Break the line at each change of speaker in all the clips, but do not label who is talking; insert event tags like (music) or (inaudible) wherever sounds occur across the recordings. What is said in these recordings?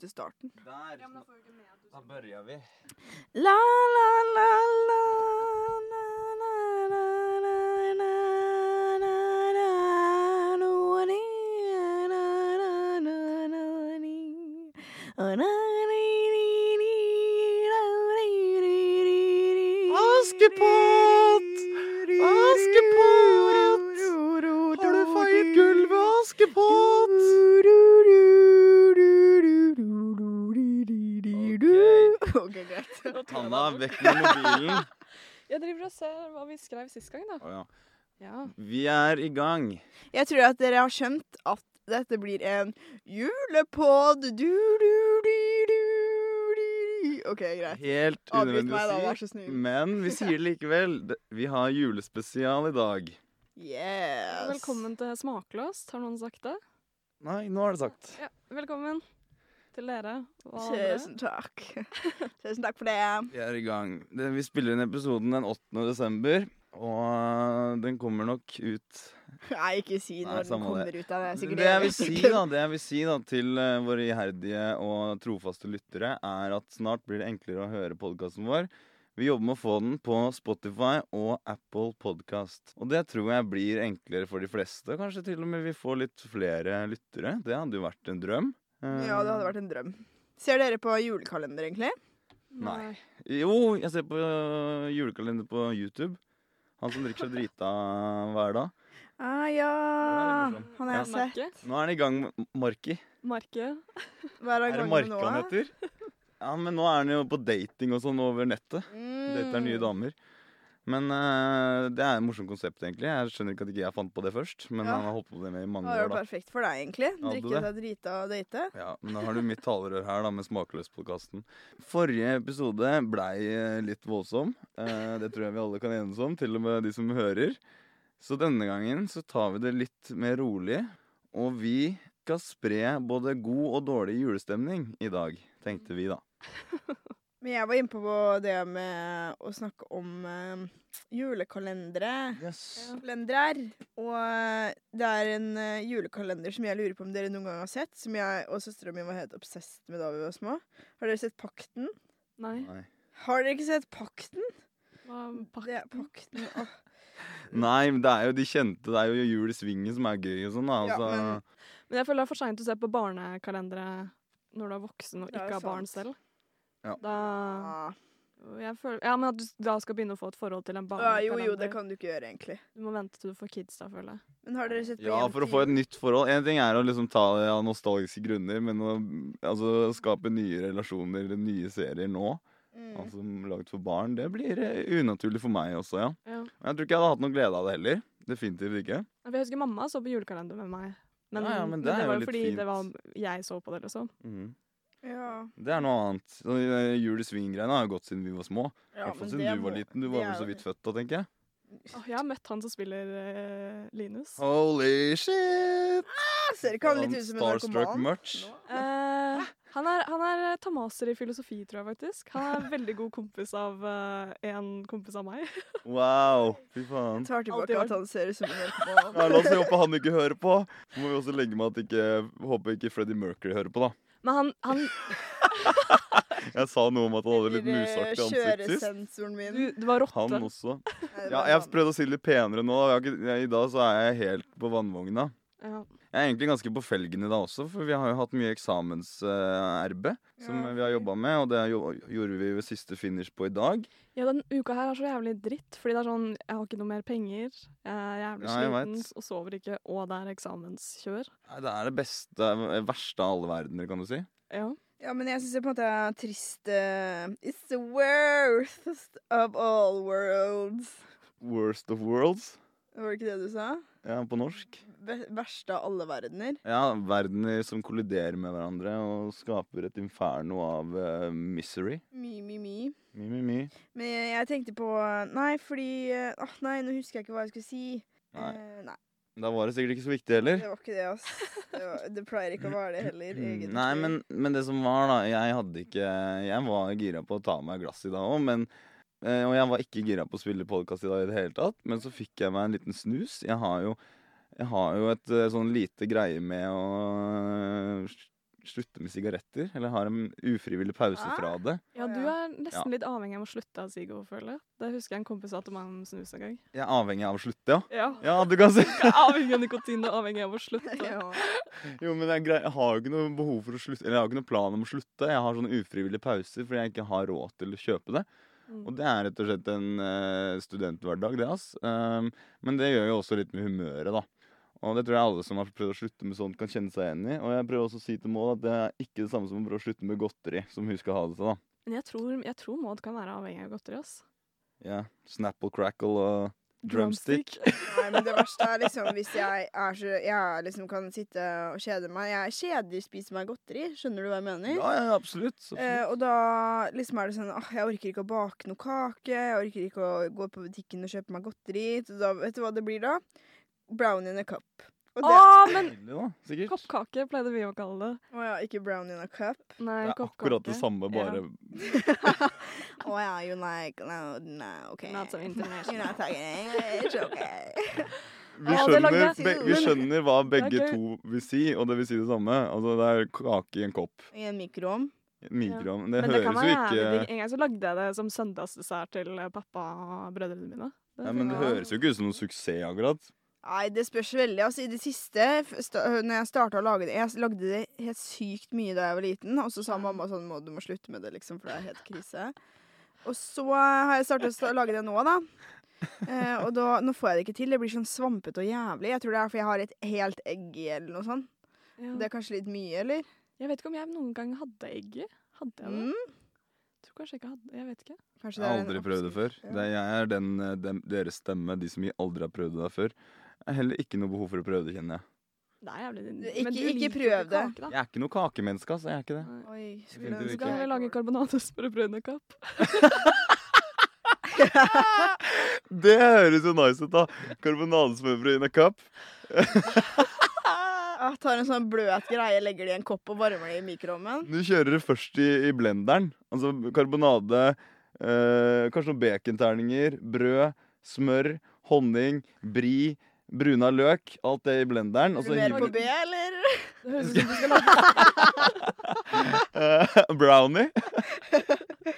til starten.
Der.
Ja, men da får du ikke med at du
Da børja vi.
La, la, la, la, na, na, na, na, na, na, na, no, ni, na, na, na, na, ni. Å, na, ni, ni, ni, na, ni, ni, ni, ni,
Askepott!
ni,
Askepott!
ru, ru, ru, ru,
Har du
ru,
feiet
ru,
gulvet, Askepott?
Ok, greit.
Hanna, vekk med mobilen.
Jeg driver og ser hva vi skrev sist gang, da.
Å ja.
Ja.
Vi er i gang.
Jeg tror at dere har skjønt at dette blir en julepod. Du, du, du, du, du, du. OK, greit.
Helt
Avbryt
unødvendig
meg, da.
å
Vær
si.
så snill.
Men vi sier det likevel. D- Vi har julespesial i dag.
Yes.
Velkommen til Smakløst, har noen sagt det?
Nei, nå er det sagt.
Ja. Velkommen til dere og andre.
Tusen takk. Tusen takk for det.
Vi er i gang. Det- Vi spiller inn episoden den 8. desember. Og den kommer nok ut
Nei, ikke si
Nei,
når den
samme
kommer
det.
ut. Da. Det er sikkert
Det jeg vil si da, det jeg vil si da til eh, våre iherdige og trofaste lyttere, er at snart blir det enklere å høre podkasten vår. Vi jobber med å få den på Spotify og Apple Podcast. Og det tror jeg blir enklere for de fleste. Kanskje til og med vi får litt flere lyttere. Det hadde jo vært en drøm. Eh,
Ja, det hadde vært en drøm. Ser dere på julekalender, egentlig?
Nei. Eh, Jo, jeg ser på øh, julekalender på YouTube. Han som drikker seg drita hver dag.
Ah, ja.
Det er litt morsomt.
Han har jeg sett.
Merke.
Nå er han i gang med Marki.
Merke.
Hver
Er det Marke han heter? Ja, men nå er han jo på dating og sånn over nettet. Dater
Mm.
nye damer. Men øh, det er et morsomt konsept, egentlig. Jeg skjønner ikke at ikke jeg fant på det først. Men
Ja.
han har holdt på det med i
Det
mange
var jo
år, da.
perfekt for deg, egentlig.
Ja, hadde
Drikke
det.
seg drita og date.
Ja, men da har du mitt talerør her da, med Smakløs-podkasten. Forrige episode blei eh, litt voldsom. Eh, Det tror jeg vi alle kan enes om, til og med de som hører. Så denne gangen så tar vi det litt mer rolig. Og vi skal spre både god og dårlig julestemning i dag, tenkte vi da.
Men jeg var inne på det med å snakke om eh, julekalendere.
Yes.
Kalenderer. Og eh, det er en eh, julekalender som jeg lurer på om dere noen gang har sett. Som jeg og søstera mi var helt obsessed med da vi var små. Har dere sett Pakten?
Nei.
Nei.
Har dere ikke sett Pakten?
Hva
Det
pakke?
er Pakten. Åh,
Nei, men det er jo de kjente. Det er jo Jul i Svingen som er gøy og sånn, da.
Ja,
Altså,
men-
Men jeg føler det er for seint å se på barnekalendere når du er voksen og
Det er jo
ikke har barn
sant.
selv.
Ja.
Da,
ah.
jeg føler, ja, men at du da skal begynne å få et forhold til en
Ah,
barnekalender.
jo, jo, det kan du ikke gjøre, egentlig.
Du må vente til du får kids, da, føler jeg.
Men har dere sett på
Ja, for å få et nytt forhold. En ting er å liksom ta det av nostalgiske grunner, men å altså, skape nye relasjoner eller nye serier nå,
Mm.
altså lagd for barn, det blir eh, unaturlig for meg også, ja.
Ja.
Men Jeg tror ikke jeg hadde hatt noe glede av det heller. Definitivt ikke.
Ja, for Jeg husker mamma så på julekalender med meg. Men,
Ja, ja, men
men
det
det,
er jo
var jo
litt
fordi
fint.
det var jeg så på det, liksom.
Mhm.
Ja,
Det er noe annet. Så, eh, Jul i sving-greiene har jo gått siden vi var små. I
ja,
hvert fall
men
siden
det
du var
må-
liten. Du
det
var
er
vel så
jo-
vidt født da, tenker jeg.
Åh, jeg har møtt han som spiller eh, Linus.
Holy shit!
Ah, Ser ikke han litt ut som en
Starstruck
narkoman?
much.
Nå?
Eh, han er, han er eh, ta master i filosofi, tror jeg faktisk. Han er en veldig god kompis av eh, en kompis av meg. (laughs)
Wow. Fy faen.
Tar tilbake
Alltid
at han ser ut som en narkoman.
Ja, la oss håpe han ikke hører på. Så må vi også legge med at ikke, håper ikke Freddie Mercury hører på, da.
Men han, han
Jeg sa noe om at han hadde litt
Blir, eh,
musaktig ansikt sist.
Kjøresensoren min.
du, Det var
Han
rotte.
også.
Nei, det
Ja,
var
jeg
han.
prøvde å si det litt penere nå. da. Jeg, har ikke- jeg, I dag så er jeg helt på vannvogna.
Ja.
Jeg er egentlig ganske på felgen i dag også, for vi har jo hatt mye eksamensarbeid som
Ja.
vi har jobba med, og det jo, gjorde vi ved siste finish på i dag.
ja, den uka her er så jævlig dritt, fordi det er sånn Jeg har ikke noe mer penger, jeg er jævlig
Nei, jeg
sliten
vet.
og sover ikke, og det er eksamenskjør.
Nei, Det er det beste, verste av alle verdener, kan du si.
Ja. (laughs)
Ja, men jeg syns det på en måte er trist eh, It's the worst of all worlds.
Worst of worlds.
Var det ikke det du sa?
Ja, på norsk.
Ve- Verste av alle verdener.
Ja, verdener som kolliderer med hverandre og skaper et inferno av eh, misery.
Mi, mi, mi.
Mi, mi, mi.
Men jeg tenkte på Nei, fordi eh, Åh, nei, nå husker jeg ikke hva jeg skulle si.
Nei.
Eh, nei,
Da var det sikkert ikke så viktig heller.
det var ikke det, ass. Det, var, det pleier ikke å være det heller, egentlig.
Mm, Nei, men, men det som var, da Jeg hadde ikke Jeg var gira på å ta meg et glass i dag òg, men eh, Og jeg var ikke gira på å spille podkast i dag i det hele tatt, men så fikk jeg meg en liten snus. Jeg har jo, jeg har jo et eh, sånn lite greie med å slutter med sigaretter, eller har en ufrivillig pause
Hæ?
fra det.
Ja, du er nesten
Ja.
litt avhengig av å slutte av Zigo, føler jeg. Det husker jeg en kompis sa til meg om snus en gang.
Jeg er avhengig av å
(laughs)
slutte, ja.
Ja.
Ja, du kan si.
(laughs) Jeg er avhengig av nikotin og avhengig av å (laughs) slutte.
(laughs) Ja.
Jo, men jeg, jeg har jo ikke noe behov for å slutte, eller jeg har ikke noe plan om å slutte. Jeg har sånne ufrivillige pauser fordi jeg ikke har råd til å kjøpe det.
Mm.
Og det er rett og slett en eh, studenthverdag, det, ass. Ehm, men det gjør jo også litt med humøret, da. Og det tror jeg alle som har prøvd å slutte med sånt, kan kjenne seg igjen i. Og jeg prøver også å si til Maud at det er ikke det samme som å prøve å slutte med godteri, som hun skal ha det til, da.
Men jeg tror, jeg tror Maud kan være avhengig av godteri, ass.
Ja, Snapple crackle og drumstick.
(laughs)
Nei, men det verste er liksom hvis jeg, er så, jeg liksom kan sitte og kjede meg. Jeg kjedespiser meg godteri, skjønner du hva jeg mener?
Ja, ja, absolutt. absolutt.
Eh, og da liksom er det sånn ah, Jeg orker ikke å bake noe kake. Jeg orker ikke å gå på butikken og kjøpe meg godteri. Så da, vet du hva det blir da? Brownie in a cup. Og
Å,
det,
men
Deilig, da, sikkert.
koppkake pleide vi å kalle det.
Å ja, ikke brownie in a cup.
Nei,
Det er
koppkake.
akkurat det samme, bare
Å ja, you like no, no, OK.
Not so
You're
international.
not talking English, (laughs) OK.
vi,
Å, det
skjønner,
lagde jeg-
be, vi
men-
skjønner hva begge
Det er gøy.
to vil si, og det vil si det samme. Altså, det er kake i en kopp.
I en mikroovn.
Mikroovn. Det
Men det kan
høres
være
jo
jævlig
ikke
digg. En gang så lagde jeg det som søndagsdessert til eh, pappa og brødrene mine.
Ja,
Det
men det
Ja.
høres jo ikke ut som noen suksess, akkurat.
Nei, det spørs veldig. Altså, I det siste, f- sta- øh, når jeg starta å lage det Jeg lagde det helt sykt mye da jeg var liten, og så sa mamma sånn må, Du må slutte med det, liksom, for det er helt krise. Og så eh, har jeg starta å lage det nå, da. Eh, og da, nå får jeg det ikke til. Det blir sånn svampete og jævlig. Jeg tror det er fordi jeg har et helt egg i, eller noe sånt.
Ja.
Det er kanskje litt mye, eller?
Jeg vet ikke om jeg noen gang hadde egg i. Hadde jeg det?
Mm.
Jeg tror kanskje jeg ikke hadde Jeg vet ikke.
Kanskje
Jeg har
en
aldri prøvd det før.
oppskrift, ja.
Det er, jeg er den, eh, dem, deres stemme, de som aldri har prøvd det før. Jeg har heller ikke noe behov for å prøve det, kjenner jeg.
Det er jævlig
Du, ikke-
Men du
ikke
liker jo
prøv det.
kake, da.
Jeg er ikke noe kakemenneske, altså. Jeg er ikke det.
Nei.
Oi,
Vil
skulle
du
Så
ønske
ikke?
kan jeg lage karbonadesprøbrødnekapp.
Det høres jo nice ut, da. Karbonadesmørbrød in a cup.
Jeg tar en sånn bløt greie, legger det i en kopp og varmer det i mikroovnen.
Du kjører det først i, i blenderen. Altså karbonade, eh, kanskje noen baconterninger, brød, smør, honning, bri, bruna løk. Alt det i blenderen.
Er
Og så
du mer på
hiver du
B, eller?
Det høres ut som du skal lage
(laughs) Eh, brownie. (laughs)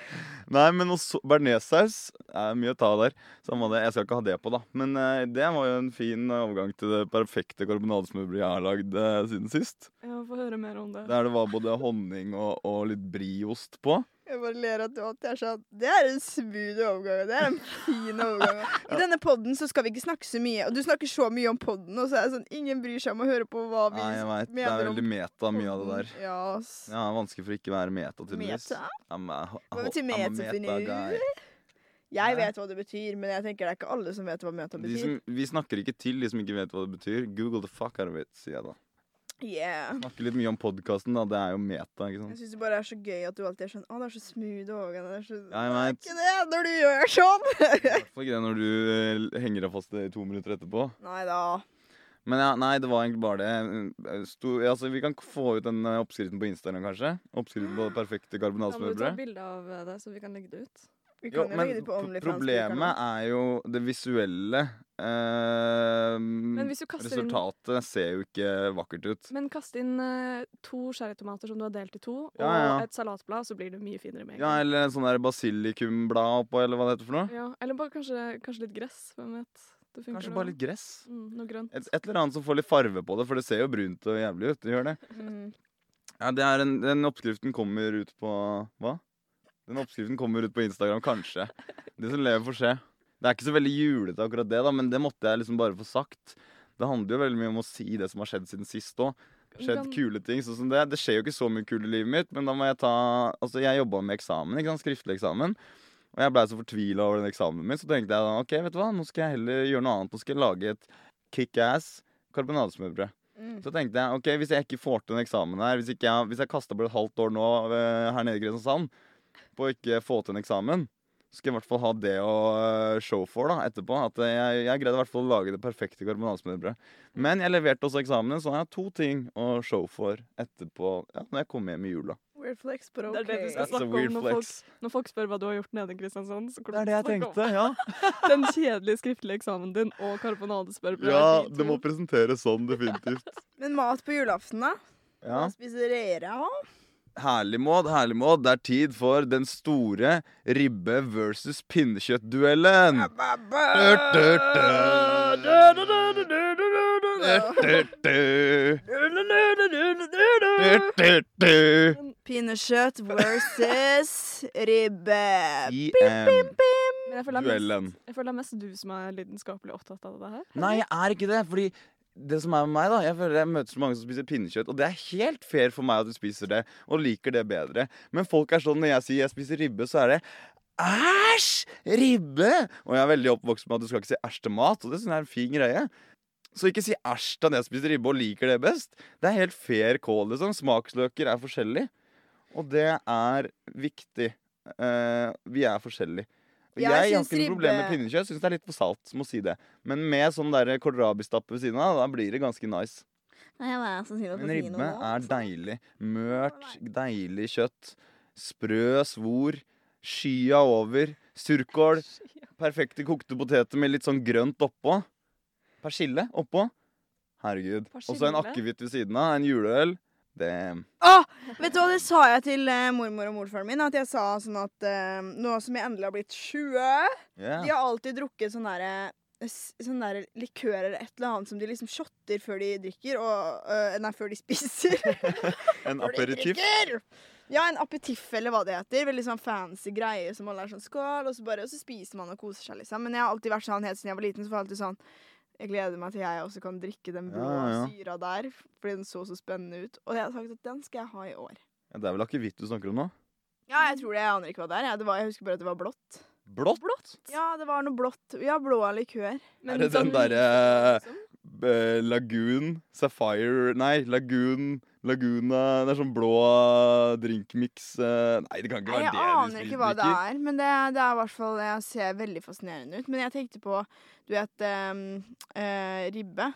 Nei, men også bearnéssaus er mye å ta der. Samme det, jeg skal ikke ha det på, da. Men eh, det var jo en fin overgang til det perfekte karbonadesmørbrødet jeg har lagd eh, siden sist.
Jeg får høre mer om det.
Der det var både honning og, og litt briost på.
Jeg bare ler at du alltid er sånn Det er en smooth overgang. og Det er en
(laughs)
fin overgang. I denne podden så skal vi ikke snakke så mye. Og du snakker så mye om podden, og så er det sånn ingen bryr seg om å høre på hva vi
Nei, jeg vet, Det er
mener om
veldig meta, mye av det der.
Ja, ass.
Ja, Vanskelig for å ikke være meta, tydeligvis.
Meta?
I'm a-
Hva betyr
I'm a
meta for
meta
nu?
guy.
Jeg
Nei.
vet hva det betyr, men jeg tenker det er ikke alle som vet hva meta
De
betyr.
som, vi snakker ikke til de som ikke vet hva det betyr. Google the fuck out of it, sier jeg da.
Yeah.
Snakker litt mye om podkasten, da. Det er jo meta, ikke sant.
Jeg syns det bare er så gøy at du alltid er sånn Å, det er så smooth overgang. Det er så
Ja, jeg vet.
Ikke det når du gjør sånn!
I hvert fall ikke det når du eh, henger deg fast i to minutter etterpå.
Nei da.
Men ja, nei, det var egentlig bare det. Eh, Sto, ja, altså, vi kan få ut den eh, oppskriften på Instagram, kanskje? Oppskriften på det perfekte
Da må du ta
karbonadesmørbrødet.
bilde av eh, det, så vi kan legge det ut.
Vi
Jo,
kan jo
men
legge det på
pro-
OnlyFans.
problemet er jo det visuelle. Eh,
Men hvis du kaster inn
resultatet ser jo ikke vakkert ut.
men kast inn eh, to cherrytomater som du har delt i to, og
Ja, ja.
et salatblad, så blir det mye finere med en
Ja,
gang.
eller en sånn der basilikumblad oppå, eller hva det heter for noe.
Ja, eller bare kanskje, kanskje litt gress. Hvem vet? Det funker
Kanskje
det
bare
også.
litt gress.
mm, Noe grønt.
Et, et eller annet som får litt farve på det, for det ser jo brunt og jævlig ut. Det gjør det.
Mm.
Ja, det er en, den oppskriften kommer ut på Hva? Den oppskriften kommer ut på Instagram, kanskje. Det som lever, får se. Det er ikke så veldig julete, akkurat det, da, men det måtte jeg liksom bare få sagt. Det handler jo veldig mye om å si det som har skjedd siden sist òg. Skjedd
Kan-
kule ting, sånn som det. Det skjer jo ikke så mye kult i livet mitt, men da må jeg ta Altså, jeg jobba med eksamen, ikke sant, skriftlig eksamen. Og jeg blei så fortvila over den eksamen min, så tenkte jeg da OK, vet du hva, nå skal jeg heller gjøre noe annet. Nå skal jeg lage et kickass karbonadesmørbrød.
Mm.
Så tenkte jeg ok, hvis jeg ikke får til den eksamen her, hvis, ikke jeg, hvis jeg kaster bort et halvt år nå eh, her nede i Kristiansand på å ikke få til en eksamen, så skal jeg i hvert fall ha det å eh, show for da, etterpå. At eh, jeg, jeg greide i hvert fall å lage det perfekte karbonadesmørbrødet. Men jeg leverte også eksamenen, så har jeg to ting å show for etterpå ja, når jeg kommer hjem i jula.
Weird flex, but
Det er det du
okay.
skal
That's a
snakke
weird
om når folk,
flex.
når folk spør hva du har gjort nede i Kristiansand. Så kan
Det er
du
det jeg
snakke om
tenkte, ja.
Den kjedelige skriftlige eksamen din og karbonadespørreprøven.
Ja, det må presenteres sånn, definitivt.
Men mat på julaften, da?
(laughs) Ja.
Hva spiser dere, da?
Herlig, Maud. Herlig, Maud. Det er tid for den store ribbe versus pinnekjøttduellen.
Pinnekjøtt versus ribbe.
Men jeg føler, det er
Duellen.
mest, jeg føler det er mest du som er lidenskapelig opptatt av det her.
Nei, jeg er ikke det. Fordi det som er med meg, da Jeg føler jeg møter så mange som spiser pinnekjøtt, og det er helt fair for meg at du spiser det, og liker det bedre. Men folk er sånn når jeg sier jeg spiser ribbe, så er det Æsj! Ribbe! Og jeg er veldig oppvokst med at du skal ikke si æsj til mat, og det synes jeg er en fin greie. Så ikke si æsj til at jeg spiser ribbe og liker det best. Det er helt fair kål, liksom. Smaksløker er forskjellig. Og det er viktig. Eh, vi er forskjellige. Og
Jeg
jeg, har
syns
ikke noe problem med
ribbe-
pinnekjøtt. Syns det er litt for salt, må si det. Men med sånn der kålrabistappe ved siden av, da blir det ganske nice. Men ribbe er deilig. Mørt, deilig kjøtt. Sprø, svor. Skya over.
(laughs)
Surkål. Perfekte kokte poteter med litt sånn grønt oppå. Persille oppå. Herregud. Og så en
Persille?
akevitt ved siden av. En juleøl. Det
Åh, Ah, vet du hva, det sa jeg til eh, mormor og morfaren min. At jeg sa sånn at eh, nå som jeg endelig har blitt 20
yeah.
De har alltid drukket sånn derre s- Sånn der likør eller et eller annet som de liksom shotter før de drikker. Og, eh, nei, før de (laughs) spiser. Før
En
de
aperitiff.
drikker! Ja, en aperitiff eller hva det heter. Veldig sånn fancy greie som alle er sånn skål, og så bare og så spiser man og koser seg, liksom. Men jeg har alltid vært sånn helt siden jeg var liten, så var jeg alltid sånn Jeg gleder meg til jeg også kan drikke den blå
Ja, ja.
syra der, fordi den så så spennende ut. Og jeg har sagt at den skal jeg ha i år.
Ja, det er vel akevitt du snakker om nå?
Ja, jeg tror det. Jeg aner ikke hva det er. jeg. Det var, jeg husker bare at det var blått.
Blått?
Ja, det var noe blått. Ja, blå likør.
Er det den
sånn-
derre eh, Lagoon Sapphire Nei, Lagoon Laguna Det er sånn blå drinkmix eh, Nei, det kan ikke
Nei,
være
jeg
det
aner
du
ikke
spiser.
hva det er, men det, det er i hvert fall Jeg ser veldig fascinerende ut. Men jeg tenkte på, du vet, ehm, eh, ribbe.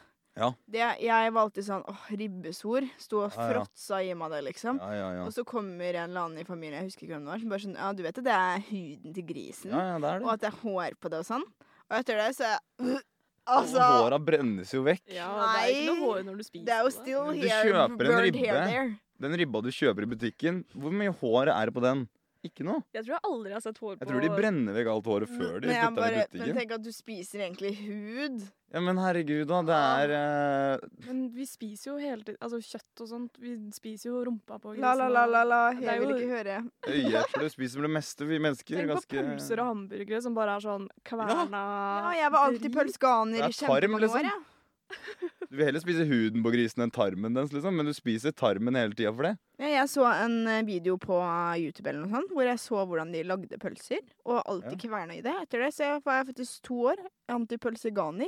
Ja.
Det, jeg var alltid sånn åh, ribbesor. Sto og
Ja, ja.
fråtsa i meg det, liksom.
Ja, ja, ja.
Og så kommer en eller annen i familien, jeg husker ikke hvem det var, som bare sånn Ja, du vet at det er huden til grisen,
ja, ja, det er
og
det.
at det er hår på det og sånn. Og etter det så er jeg
Altså,
Altså,
Håra brennes jo vekk.
Ja, det er ikke
Nei,
noe hår når du spiser
det er jo still
Men du
hair,
kjøper en
bird hair
ribbe.
there.
Den ribba du kjøper i butikken, hvor mye hår er det på den? Ikke noe.
Jeg tror jeg aldri har sett hår på
Jeg tror de brenner vekk alt håret før de
Men jeg
putter det i
bare- Men
butikken.
tenk at du spiser egentlig hud.
Ja, Men herregud, da. Det
Ah.
er eh,
Men vi spiser jo hele tiden Altså kjøtt og sånt. Vi spiser jo rumpa på
La, la, la, la, la.
Det er
Jeg vil
jo-
ikke høre.
eh, Øyeepler spiser det meste, vi mennesker.
Tenk på
Ganske
pølser og hamburgere som bare er sånn kverna
Ja, jeg var alltid
drit.
pølskaner i
Det er tarm,
kjempemange
liksom.
år. jeg.
Du vil heller spise huden på grisen enn tarmen dens, liksom. Men du spiser tarmen hele tida for det.
Ja, jeg så en eh, video på eh, YouTube eller noe sånt, hvor jeg så hvordan de lagde pølser. Og alltid kverna i det. Etter det så var jeg faktisk to år
(laughs)
antipølseganer.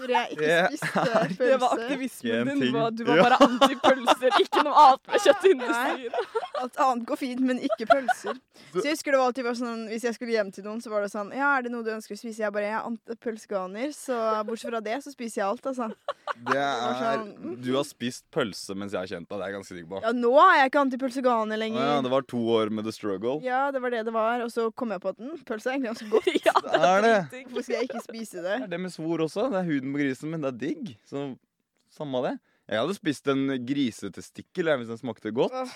Hvor jeg ikke
Det
spiste
Det var
pølse.
Ikke en
aktivismen din.
ting.
Var, du var
Ja.
bare
(laughs)
anti-pølser, ikke noe annet med kjøttindustrien.
Alt annet går fint, men ikke pølser. Så jeg husker det var alltid bare sånn, Hvis jeg skulle hjem til noen, så var det sånn Ja, er det noe du ønsker å spise? Jeg bare Jeg er antipølseganer. Så bortsett fra det, så spiser jeg alt, altså. (laughs)
Det
var
er
sånn-
Du har spist pølse mens jeg har kjent deg, det er jeg ganske sikker på.
Ja, nå er jeg ikke antipølseganer
Å
lenger.
ja, det var to år med the struggle.
Ja, det var det det var. Og så kom jeg på at mm, pølse er egentlig ganske godt.
(laughs) Ja,
Det er det.
dritdigg.
Hvorfor skal jeg ikke spise
(laughs)
det?
Det er det med svor også. Det er huden på grisen, men det er digg. Så samme det. Jeg hadde spist en grisetestikkel jeg, hvis den smakte godt.
Åh.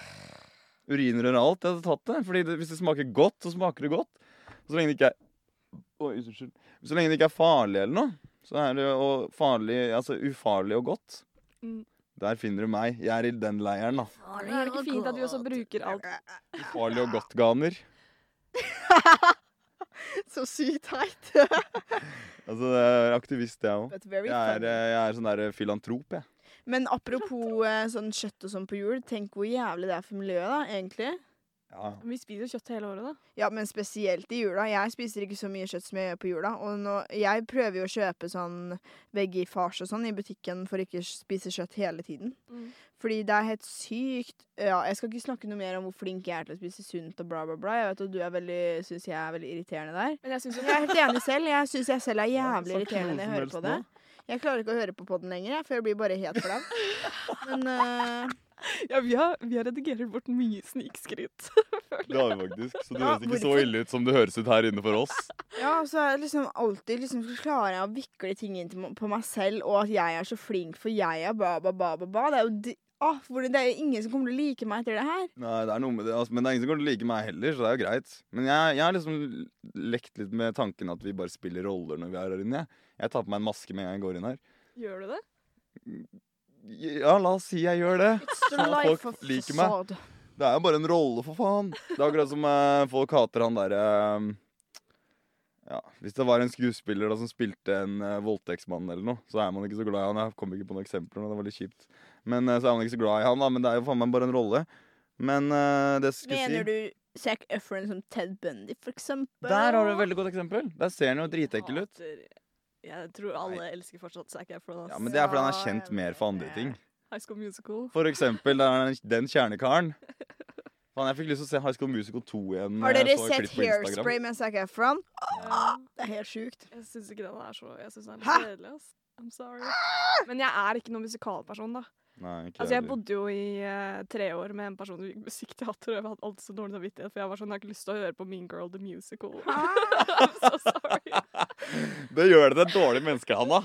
Urinrør og alt. Jeg hadde tatt det. Fordi det, hvis det smaker godt, så smaker det godt. Så lenge det ikke er Oi, unnskyld. Så lenge det ikke er farlig eller noe, så er det jo farlig Altså ufarlig og godt.
Mm.
Der finner du meg. Jeg er i den leiren, da.
Men Er det ikke fint at du også bruker alt
Ufarlig og godt-ganer.
(laughs) Så sykt teit. (laughs)
Altså, det er aktivist, jeg òg.
But very
Jeg er,
funny.
eh, jeg er sånn der filantrop, jeg.
Men apropos eh, sånn kjøtt og sånn på jul, tenk hvor jævlig det er for miljøet, da, egentlig.
Ja.
Men Vi spiser jo kjøtt hele året, da.
Ja, men spesielt i jula. Jeg spiser ikke så mye kjøtt som jeg gjør på jula. Og nå, jeg prøver jo å kjøpe sånn veggiefars og sånn i butikken for ikke å spise kjøtt hele tiden.
Mm.
Fordi det er helt sykt Ja, jeg skal ikke snakke noe mer om hvor flink jeg er til å spise sunt og bla, bla, bla. Jeg vet at du er veldig, syns jeg er veldig irriterende der.
Men jeg syns jo
Jeg er helt enig selv. Jeg syns jeg selv er jævlig
Ja, sagt
irriterende
noe
når jeg
som
hører
helst
på det.
nå.
Jeg klarer ikke å høre på podden lenger, jeg, for jeg blir bare helt flau. Men eh,
Ja, vi har, vi har redigert bort mye snikskryt. (laughs) føler
Det har vi faktisk. Så det
Ja,
høres ikke så
hvorfor?
ille ut som det høres ut her inne for oss.
Ja, og så er det liksom alltid liksom, så klarer jeg å vikle ting inn til, m- på meg selv, og at jeg er så flink, for jeg er ba, ba, ba, ba, ba. Det er jo d- Åh, hvordan- det er jo ingen som kommer til å like meg etter det her.
Nei, det er noe med det, altså, Men det er ingen som kommer til å like meg heller, så det er jo greit. Men jeg, jeg har liksom lekt litt med tanken at vi bare spiller roller når vi er her inne. Jeg, jeg tar på meg en maske med en gang jeg går inn her.
Gjør du det?
Ja, la oss si jeg gjør det.
It's
Ja, folk liker meg.
facade.
Det er jo bare en rolle, for faen. Det er akkurat som eh, folk hater han derre eh, ja, Hvis det var en skuespiller da som spilte en eh, voldtektsmann eller noe, så er man ikke så glad i han. Jeg kom ikke på noen eksempler nå, det var litt kjipt. Men eh, så er man ikke så glad i han, da. Men det er jo faen meg bare en rolle. Men eh, det skulle jeg si
Mener du Zac Efron som Ted Bundy, for eksempel?
Der har du et veldig godt eksempel. Der ser han jo dritekkel ut.
Hater- Jeg tror alle elsker fortsatt Zac Efron. ass.
Ja, Men det er fordi han er kjent mer for andre ting.
High School Musical.
For eksempel der er den- den kjernekaren. Faen, jeg fikk lyst til å se High School Musical 2 igjen.
Har
eh,
dere
så et
sett
klipp på Instagram.
Hairspray med Zac Efron?
Ah!
Ja.
Det er helt sjukt.
Jeg syns ikke den er så Jeg synes den er
Hæ?
litt kjedelig, ass. I'm sorry. Men jeg er ikke noen musikalperson, da.
Nei, ikke
Altså, jeg
heller.
bodde jo i eh, tre år med en person som gikk musikkteater, og jeg hadde alltid så dårlig samvittighet, for jeg var sånn, jeg har ikke lyst til å høre på Mean Girl The Musical. (laughs)
Ah!
I'm so sorry.
Det gjør det til et dårlig menneske, Hanna.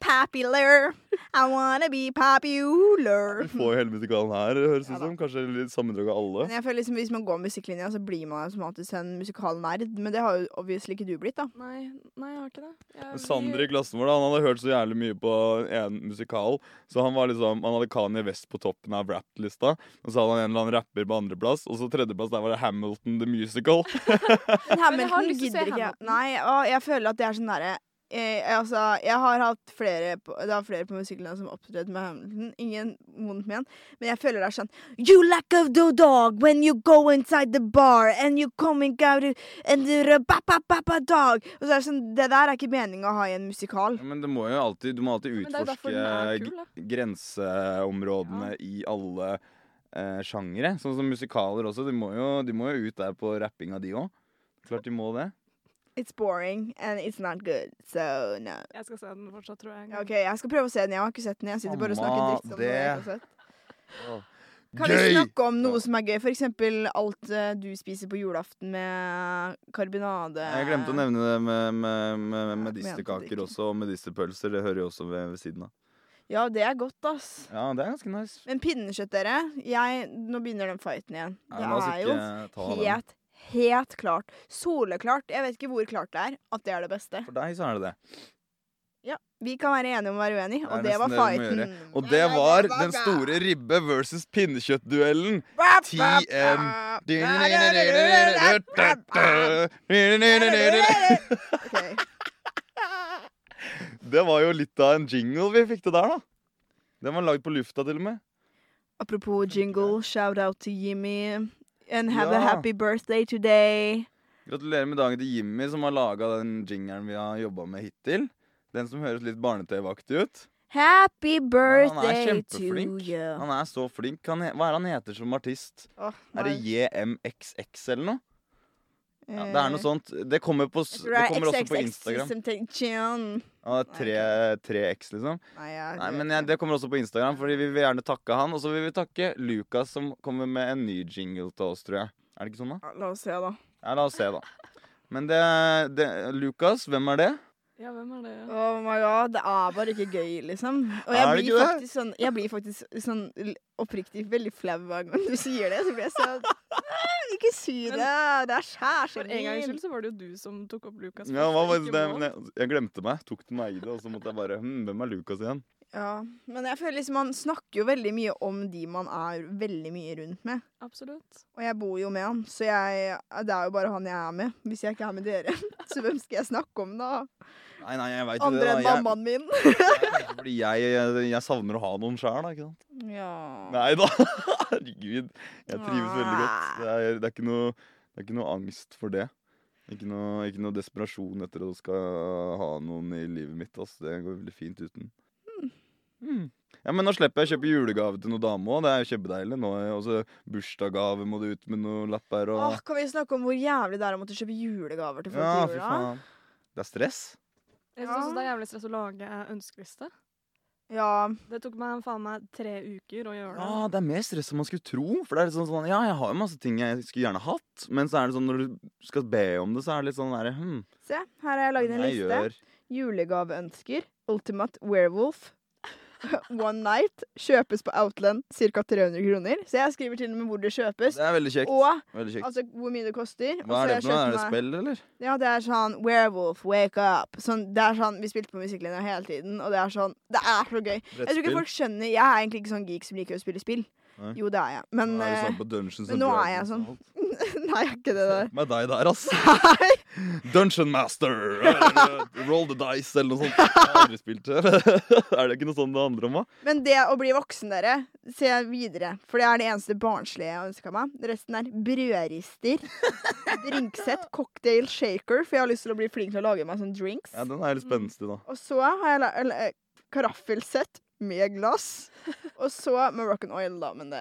Popular. I wanna be popular.
Du får jo hele musikalen her, høres det
Ja
ut
da.
som. Kanskje litt sammendrag av alle.
Men jeg føler liksom Hvis man går musikklinja, så blir man automatisk en musikalnerd. Men det har jo obviously ikke du blitt, da.
Nei, nei, jeg har ikke det. Jeg,
Sander i klassen vår da, han hadde hørt så jævlig mye på en musikal, så han var liksom, han hadde Kanye West på toppen av rap-lista, og så hadde han en eller annen rapper på andreplass, og så tredjeplass, der var det Hamilton The Musical.
Men
Men jeg har
Hamilton
lyst til å se
gidder ikke.
Hamilton.
Nei, og jeg føler at det er sånn derre eh, altså, jeg har hatt flere på, Det er flere på musikklinja som opptrådte med Hamilton. Ingen vondt ment. Men jeg føler det er sånn You like a do- dog when you go inside the bar and you coming out and you're a ba, ba, ba, ba, dog. Og så er det sånn Det der er ikke meninga å ha i en musikal.
(laughs) Ja, Men det må jo alltid, du må alltid
Men det er jo derfor
utforske
den er
g-
kul, da.
grenseområdene i alle eh, sjangere. Sånn som musikaler også, de må jo, de må jo ut der på rappinga de også. Klart de må det.
It's boring and it's not good, so no.
jeg skal se den fortsatt, tror jeg. en
Ja,
gang.
OK, jeg skal prøve å se den. Jeg har ikke sett den. Jeg sitter bare og snakker
Mamma,
dritt om den. jeg ikke har sett.
Åh.
Kan vi
Gøy!
snakke om noe
Ja.
som er gøy? For eksempel alt eh, du spiser på julaften med karbinade.
Jeg glemte å nevne det med, med, med
mente det
medisterkaker
ikke.
også, og medisterpølser. Det hører jo også ved, ved siden av.
Ja, det er godt, ass.
Ja, det er ganske nice.
Men pinnekjøtt, dere. Jeg, nå begynner den fighten igjen.
Nei,
Det
la oss
er jo
ikke ta den.
helt, helt klart. Soleklart. Jeg vet ikke hvor klart det er at det er det beste.
For deg så er det det.
Vi kan være enige om å være uenige,
Det er
og det
nesten
var
det vi må
fighten.
Og det var den store ribbe versus pinnekjøttduellen. TM.
Ok.
Det var jo litt av en jingle vi fikk til der, da. Den var lagd på lufta, til og med.
Apropos jingle, shout out til Jimmy. And have a
Ja.
happy birthday today.
Gratulerer med dagen til Jimmy, som har laga den jingeren vi har jobba med hittil. Den som høres litt barne-TV-aktig ut.
Happy
Men han er
birthday to
kjempeflink.
you.
Han er så flink. Han, he- hva er det han heter som artist? Er det JMXX eller noe? Ja, det er noe sånt. Det kommer, på, s- Eh, det kommer også på Instagram. Ja, det er tre, tre X, liksom.
Nei, ja,
Nei, men jeg, Det kommer også på Instagram, Fordi vi vil gjerne takke han. Og så vil vi takke Lukas, som kommer med en ny jingle til oss, tror jeg. Er det ikke sånn, da?
Ja, La oss se, da.
Ja, La oss se, da. Men det, det Lukas, hvem er det?
Ja, hvem er det?
Oh my god, det er bare ikke gøy, liksom. Og jeg
Er det
blir,
ikke det?
faktisk sånn, jeg blir faktisk sånn l- oppriktig veldig flau hver gang du sier det. Så blir jeg sånn «Nei, Ikke si
Men-
det! Det er
For en gangs
kjæresten
skyld så var det jo du som tok opp Lukas.
Ja, hva var
først,
det?
ikke
men
Mål.
Jeg, jeg glemte meg. Tok den meg i det, og så måtte jeg bare hm, Hvem er Lukas igjen?
Ja, men jeg føler liksom man snakker jo veldig mye om de man er veldig mye rundt med.
Absolutt.
Og jeg bor jo med han, så jeg, det er jo bare han jeg er med. Hvis jeg ikke er med dere, (laughs) så hvem skal jeg snakke om da?
Nei, nei, jeg veit jo det.
Andre
da
enn
jeg,
mammaen min.
kanskje fordi jeg, jeg, jeg savner å ha noen sjæl, da. ikke sant?
Ja.
Nei da. (laughs) Herregud. Jeg trives veldig godt. Det er, det er, ikke, noe, det er ikke noe angst for det. Ikke noe, ikke noe desperasjon etter å skal ha noen i livet mitt. ass. Det går veldig fint uten. Mm. Ja, Men nå slipper jeg å kjøpe julegave til noen dame òg. Det er jo kjempedeilig. Nå er jo også bursdagsgave må du ut med noen lapper og
Åh, kan vi snakke om hvor jævlig det er å måtte kjøpe julegaver til folk
Ja,
i
fy
jula?
faen. Det er stress.
Jeg
Ja.
synes også det er jævlig stress å lage ønskeliste.
Ja,
Det tok meg faen meg tre uker å gjøre
Ja,
det.
det er mer stress enn man skulle tro. For det er litt sånn, sånn Ja, jeg har jo masse ting jeg skulle gjerne hatt, men så er det sånn når du skal be om det, så er det litt sånn derre hm,
se. Her har jeg lagd en
jeg
liste. Julegaveønsker. Ultimate Werewolf. (laughs) One Night. Kjøpes på Outland ca. 300 kroner. Så jeg skriver til og med hvor det kjøpes.
Det er veldig kjekt.
Og
Veldig kjekt.
altså hvor mye det koster. Og
Hva
så
er
har
det
jeg
for noe?
kjøpt
Er det
meg-
spill, eller?
Ja, det er sånn Werewolf, wake up. Sånn, det er sånn, Vi spilte på musikklinja hele tiden, og det er sånn Det er så gøy. Jeg tror ikke folk skjønner Jeg er egentlig ikke sånn geek som liker å spille spill.
Nei.
Jo, det er jeg. Men
Nå er du
eh,
sånn på Dungeons
men
and
nå er
Dragons
jeg
og
sånn.
alt.
(laughs) Nei, jeg er ikke det der.
Med deg der, ass.
(laughs) Nei.
(laughs) Dungeon Master! eh, Roll the dice, eller noe sånt. Jeg har aldri spilt det. (laughs) Er det ikke noe sånt det handler om, da?
Men det å bli voksen, dere, ser jeg videre. For det er det eneste barnslige jeg ønska meg. Resten er brødrister, drinksett, cocktail shaker, for jeg har lyst til å bli flink til å lage meg sånne drinks.
Ja, den er litt spenstig, da.
Og så har jeg la- eller, eh, karaffelsett med glass. Og så Moroccan oil, da, men det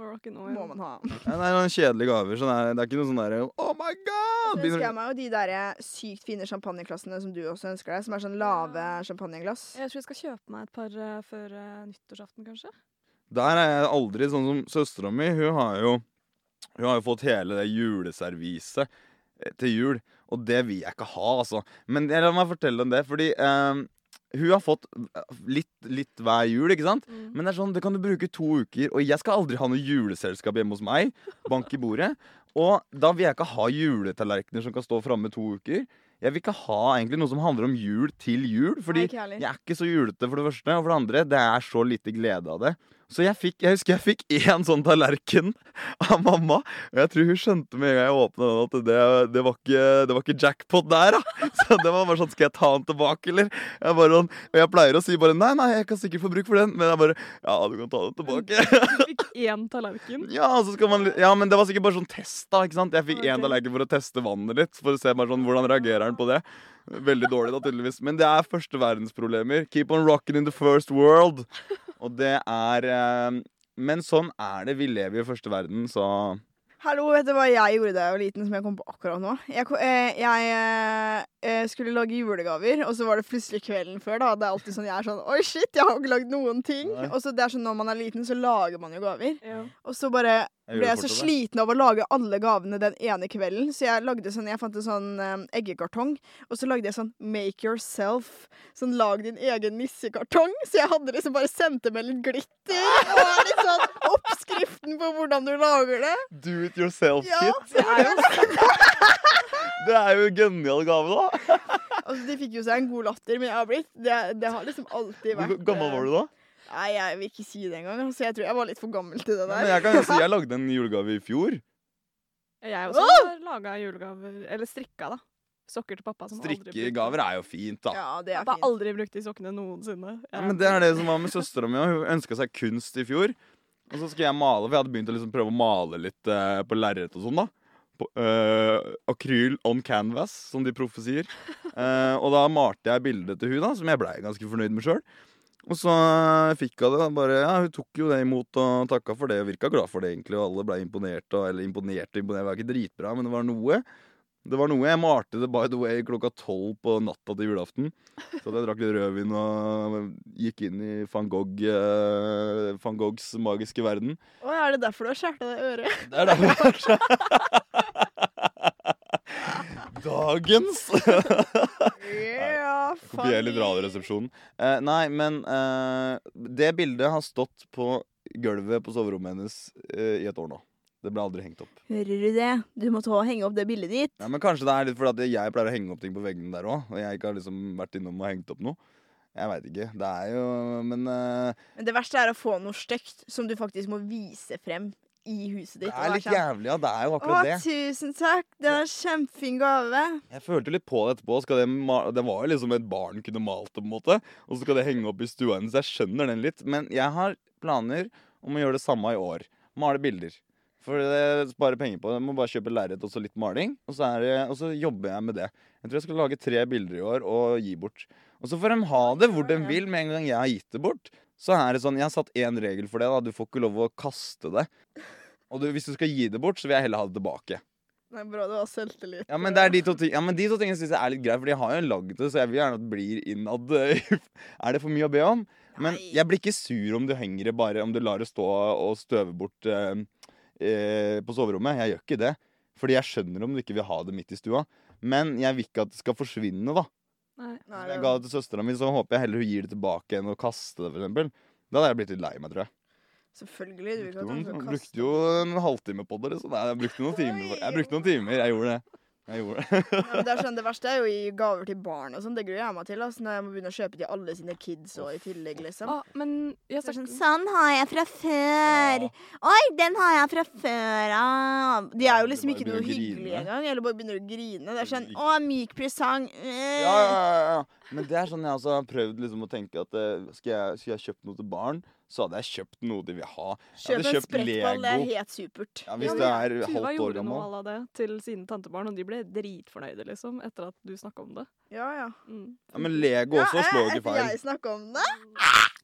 Moroccan oil.
må man ha.
Ja, det er noen kjedelige gaver. Sånn er, det er ikke noe sånn derre Oh my god!
Så ønsker jeg meg jo de der eh, sykt fine champagneklassene som du også ønsker deg, som er sånn lave champagneglass.
Jeg tror jeg skal kjøpe meg et par eh, før eh, nyttårsaften, kanskje.
Der er jeg aldri sånn som søstera mi. Hun har jo Hun har jo fått hele det juleserviset eh, til jul, og det vil jeg ikke ha, altså. Men jeg, la meg fortelle om det, fordi eh, hun har fått eh, litt, litt hver jul, ikke sant?
Mm.
(laughs)
Men det er sånn, det kan du bruke to uker, og jeg skal aldri ha noe juleselskap hjemme hos meg. Bank i bordet. Og da vil jeg ikke ha juletallerkener som kan stå framme to uker. Jeg vil ikke ha egentlig noe som handler om jul til jul, fordi
Nei, ikke heller.
jeg er ikke så julete, for det første. Og for det andre, det er så lite glede av det. Så jeg, fikk, jeg husker jeg fikk én sånn tallerken (laughs) av mamma. Og jeg tror hun skjønte med en gang jeg åpna den, at det, det, var ikke, det var ikke jackpot der, da. (laughs) Så det var bare sånn Skal jeg ta den tilbake, eller? Jeg bare, sånn- og jeg pleier å si bare nei, nei, jeg kan sikkert få bruk for den. Men jeg bare Ja, du kan ta den tilbake.
Du fikk én tallerken.
Ja, og så skal man, li- ja men det var sikkert bare sånn test, da. ikke sant? Jeg fikk én
Ok.
tallerken for å teste vannet litt. For å se bare sånn, hvordan reagerer han på det. Veldig dårlig, da, tydeligvis. Men det er første verdensproblemer. Keep on rocking in the first world. Og det er eh, Men sånn er det. Vi lever jo i første verden, så
Hallo, vet du hva jeg gjorde da jeg var liten, som jeg kom på akkurat nå? Jeg, ko- eh, jeg eh, eh, skulle lage julegaver, og så var det plutselig kvelden før. da Det er alltid sånn, Jeg er sånn Oi, shit, jeg har ikke lagd noen ting.
Nei.
Og så det er sånn, Når man er liten, så lager man jo gaver.
Ja.
Og så bare
Jeg
ble
gjør det
jeg så
fortsatt, jeg.
sliten av å lage alle gavene den ene kvelden, så jeg lagde sånn, jeg fant en sånn eh, eggekartong, og så lagde jeg sånn make yourself. Sånn lag din egen nissekartong. Så jeg hadde liksom bare sendt det med litt glitter, og litt sånn oppskriften på hvordan du lager det.
Do it yourself,
Ja,
kid.
det er jo
Det er jo en genial gave, da.
(laughs) Altså, de fikk jo seg en god latter, men jeg har blitt Det, det har liksom alltid
Hvor
vært eh,
g- gammel var du da?
Nei, jeg vil ikke si det engang. Altså, jeg tror jeg var litt for gammel til det
Men
der.
jeg kan jo si jeg lagde en julegave i fjor.
Jeg også har laga julegaver. Eller strikka, da. Sokker til pappa. som aldri brukte.
Strikkegaver er jo fint, da.
Ja, det er
Pappa har
fint.
aldri brukt de sokkene noensinne.
Ja, men det er det som var med søstera mi. Hun ønska seg kunst i fjor. Og så skulle jeg male, for jeg hadde begynt å liksom prøve å male litt eh, på lerret og sånn, da. På, eh, akryl on canvas, som de proffe sier. Eh, og da malte jeg bildet til hun da, som jeg blei ganske fornøyd med sjøl. Og så eh, fikk hun det. da, bare, ja, Hun tok jo det imot og takka for det. Og virka glad for det, egentlig. Og alle blei imponert. Og, eller imponert og imponert, det var ikke dritbra, men det var noe. Det var noe. Jeg malte det by the way klokka tolv på natta til julaften. Så at jeg drakk litt rødvin og gikk inn i van Gogh eh, van Goghs magiske verden.
Å, er det derfor du har skjært av deg øret?
Det (laughs) er derfor (laughs) Dagens
(laughs) Ja,
Kopier litt Radioresepsjonen. Eh, nei, men eh, det bildet har stått på gulvet på soverommet hennes eh, i et år nå. Det ble aldri hengt opp.
Hører du det? Du må ta og henge opp det bildet ditt.
Nei, men Kanskje det er litt fordi at jeg pleier å henge opp ting på veggene der òg. Og jeg ikke har liksom vært innom og hengt opp noe. Jeg veit ikke. Det er jo Men eh,
Men det verste er å få noe stygt som du faktisk må vise frem i huset ditt. sånn,
det er litt jævlig, ja. Det er jo
Å,
akkurat det.
tusen takk! Det er en kjempefin gave.
Jeg følte litt på det etterpå. Skal det, ma- det var jo liksom et barn kunne malt det, på en måte. Og så skal det henge opp i stua hennes. Jeg skjønner den litt. Men jeg har planer om å gjøre det samme i år. Male bilder. For det sparer penger på. Jeg må bare kjøpe lerret og så litt maling. Og så, er det, og så jobber jeg med det. Jeg tror jeg skal lage tre bilder i år og gi bort. Og så får de ha det hvor de vil. Med en gang jeg har gitt det bort, så er det sånn Jeg har satt én regel for det. da Du får ikke lov å kaste det. Og du, hvis du skal gi det bort, så vil jeg heller ha det tilbake.
Nei, bra, det var selvtillit.
Ja, men det er de to, ting, ja, men de to tingene synes jeg er litt greit, for de har jo lagd det, så jeg vil gjerne at det blir innad. eh, (laughs) er det for mye å be om? Men
Nei.
jeg blir ikke sur om du henger det bare, om du lar det stå og støve bort eh, eh, på soverommet. Jeg gjør ikke det. Fordi jeg skjønner om du ikke vil ha det midt i stua. Men jeg vil ikke at det skal forsvinne, da.
Nei.
Nei,
Hvis
det
jeg ga
var,
det til søstera mi, så håper jeg heller hun gir det tilbake enn å kaste det, for eksempel. Da hadde jeg blitt litt lei meg, tror jeg.
selvfølgelig. Du vil ikke at
Brukte jo,
han
en,
skal kaste
brukte jo en halvtime på det, liksom. Nei, jeg brukte noen timer. på- Jeg brukte noen timer, jeg gjorde det. Jeg gjorde det.
Nei, men det, er sånn, det verste er jo å gi gaver til barn og sånn. Det gruer jeg meg til. Altså, når jeg må begynne å kjøpe til alle sine kids og i tillegg, liksom.
Ah, men
Så er det
jeg snakker
sånn,
Sånn har jeg fra før. Oi, den har jeg fra før av.
De er jo
Eller
liksom
bare
ikke noe
begynner å grine.
hyggelige engang. Eller bare begynner å grine. Det er sånn Å,
Eller
myk presang. Øh.
Ja, ja, ja, ja. Men det er sånn jeg også har prøvd liksom å tenke at eh, skulle jeg, skulle jeg kjøpt noe til barn, så hadde jeg kjøpt noe de vil ha.
Kjøp
hadde
en
kjøpt
sprettball. Det er
Lego.
helt supert.
Ja,
Ja,
hvis
men
du er
Tuva
halvt år
gjorde noe
gammel.
à la det til sine tantebarn, og de ble dritfornøyde, liksom, etter at du snakka om det.
Ja, ja.
Mm.
Ja, men Lego også
Ja,
slår
jeg-
ikke feil.
Jeg snakker om det.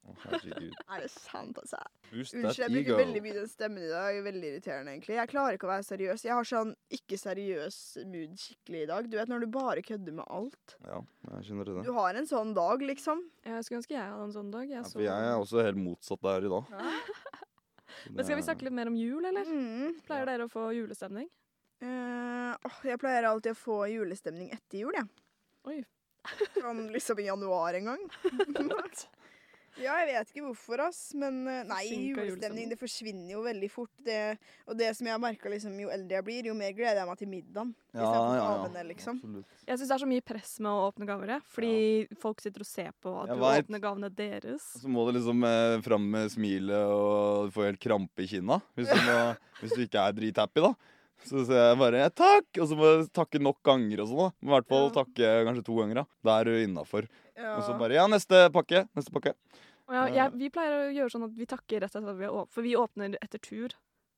Å, herregud.
Er det sant, altså?
Boost that
Unnskyld, jeg
ego.
bruker veldig mye den stemmen i dag. Veldig irriterende, egentlig. Jeg klarer ikke å være seriøs. Jeg har sånn ikke-seriøs mood skikkelig i dag. Du vet når du bare kødder med alt.
Ja, jeg skjønner det.
Du har en sånn dag, liksom.
Jeg skulle ønske jeg hadde en sånn dag. Jeg
Ja,
så-
for jeg er også helt motsatt der i dag. Så
Men skal vi
det-
snakke litt mer om jul, eller?
Mm.
Pleier dere å få (laughs) julestemning?
Eh, åh, jeg pleier alltid å få julestemning etter jul, jeg.
Oi.
(laughs) Sånn liksom i januar en gang. Ja, jeg vet ikke hvorfor, ass. Men eh, nei,
Forsinket
julestemning
julestemning.
det forsvinner jo veldig fort. Det, og det som jeg har merka liksom, jo eldre jeg blir, jo mer gleder jeg meg til middagen.
Ja,
istedenfor
ja, ja.
gavene, liksom.
Absolutt.
Jeg syns det er så mye press med å åpne gaver, jeg. Fordi folk sitter og ser på at
Jeg
du
vet.
åpner gavene deres.
Så må du liksom eh, fram med smilet og du får helt krampe i kinna hvis du, må,
(laughs)
hvis du ikke er drithappy, da. Så sier jeg bare 'takk', og så må du takke nok ganger og sånn. da. Men I hvert fall
Ja.
takke kanskje to ganger. da. Da er du innafor.
Ja.
Og så bare 'ja, neste pakke'. Neste pakke.
Og jeg,
Ja.
jeg, vi pleier å gjøre sånn at vi takker rett etter at vi har åpnet, for vi åpner etter tur.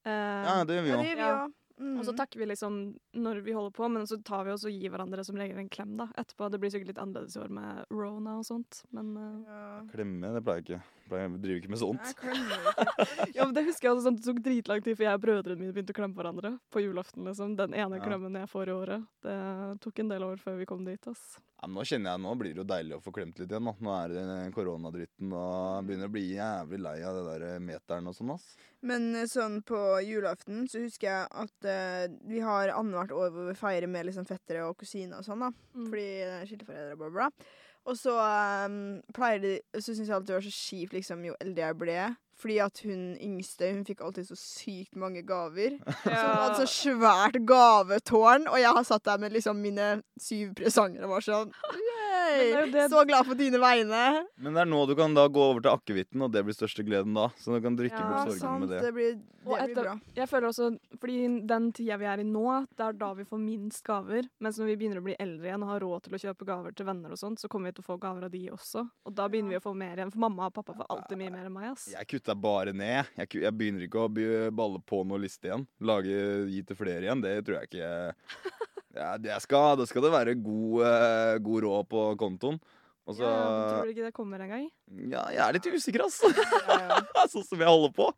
Eh,
Ja, det gjør vi
ja,
jo.
det gjør vi
Ja.
òg. Mm.
Og så takker vi liksom når vi holder på, men så tar vi oss og gir hverandre som regel en klem da, etterpå. Det blir sikkert litt annerledes i år med Rona og sånt, men eh,
ja.
Klemme, det pleier jeg ikke. Pleier, jeg driver ikke med
Jeg
sånt.
klemmer ikke.
Ja, men Det husker jeg også sånn, det tok dritlang tid før jeg og brødrene mine begynte å klemme hverandre. På julaften, liksom. Den ene
Ja.
klemmen jeg får i året. Det tok en del år før vi kom dit. ass.
Ja, men nå kjenner jeg, nå blir det jo deilig å få klemt litt igjen. da. Nå er det den koronadritten og jeg begynner å bli jævlig lei av det der eh, meteren og sånn. ass.
Men eh, sånn på julaften så husker jeg at eh, vi har annethvert år hvor vi feirer med liksom fettere og kusiner og sånn, da.
Fordi,
Fordi eh, skilleforeldre og bla, bla. bla. Og så ehm, pleier de Så syns jeg alltid det var så kjipt liksom, jo eldre jeg ble. Fordi at hun yngste hun fikk alltid så sykt mange gaver. Så hun hadde
altså,
så svært gavetårn, og jeg har satt der med liksom mine syv presanger og var sånn
Men
«Yay!
det er jo det-
Så glad på dine vegne.
Men det er nå du kan da gå over til akevitten, og det blir største gleden da. Så du kan drikke
Ja,
bort sorgene
sant.
med det.
Det blir,
Og
det blir
etter-
bra.
(laughs) jeg føler også, fordi Den tida vi er i nå, det er da vi får minst gaver. Mens når vi begynner å bli eldre igjen og har råd til å kjøpe gaver til venner, og sånt, så kommer vi til å få gaver av de også. Og da begynner vi å få mer igjen. For mamma og pappa får alltid mye mer enn meg. ass.
Jeg kutta bare ned. Jeg, ku- jeg begynner ikke å by- balle på noe liste igjen. Lage, gi til flere igjen, det tror jeg ikke jeg ja, det skal, Da skal det være god, eh, god råd på kontoen. Og så
Ja, ja, tror du ikke det kommer engang?
Ja, jeg er litt usikker, ass. (laughs)
Ja, ja.
sånn som jeg holder på.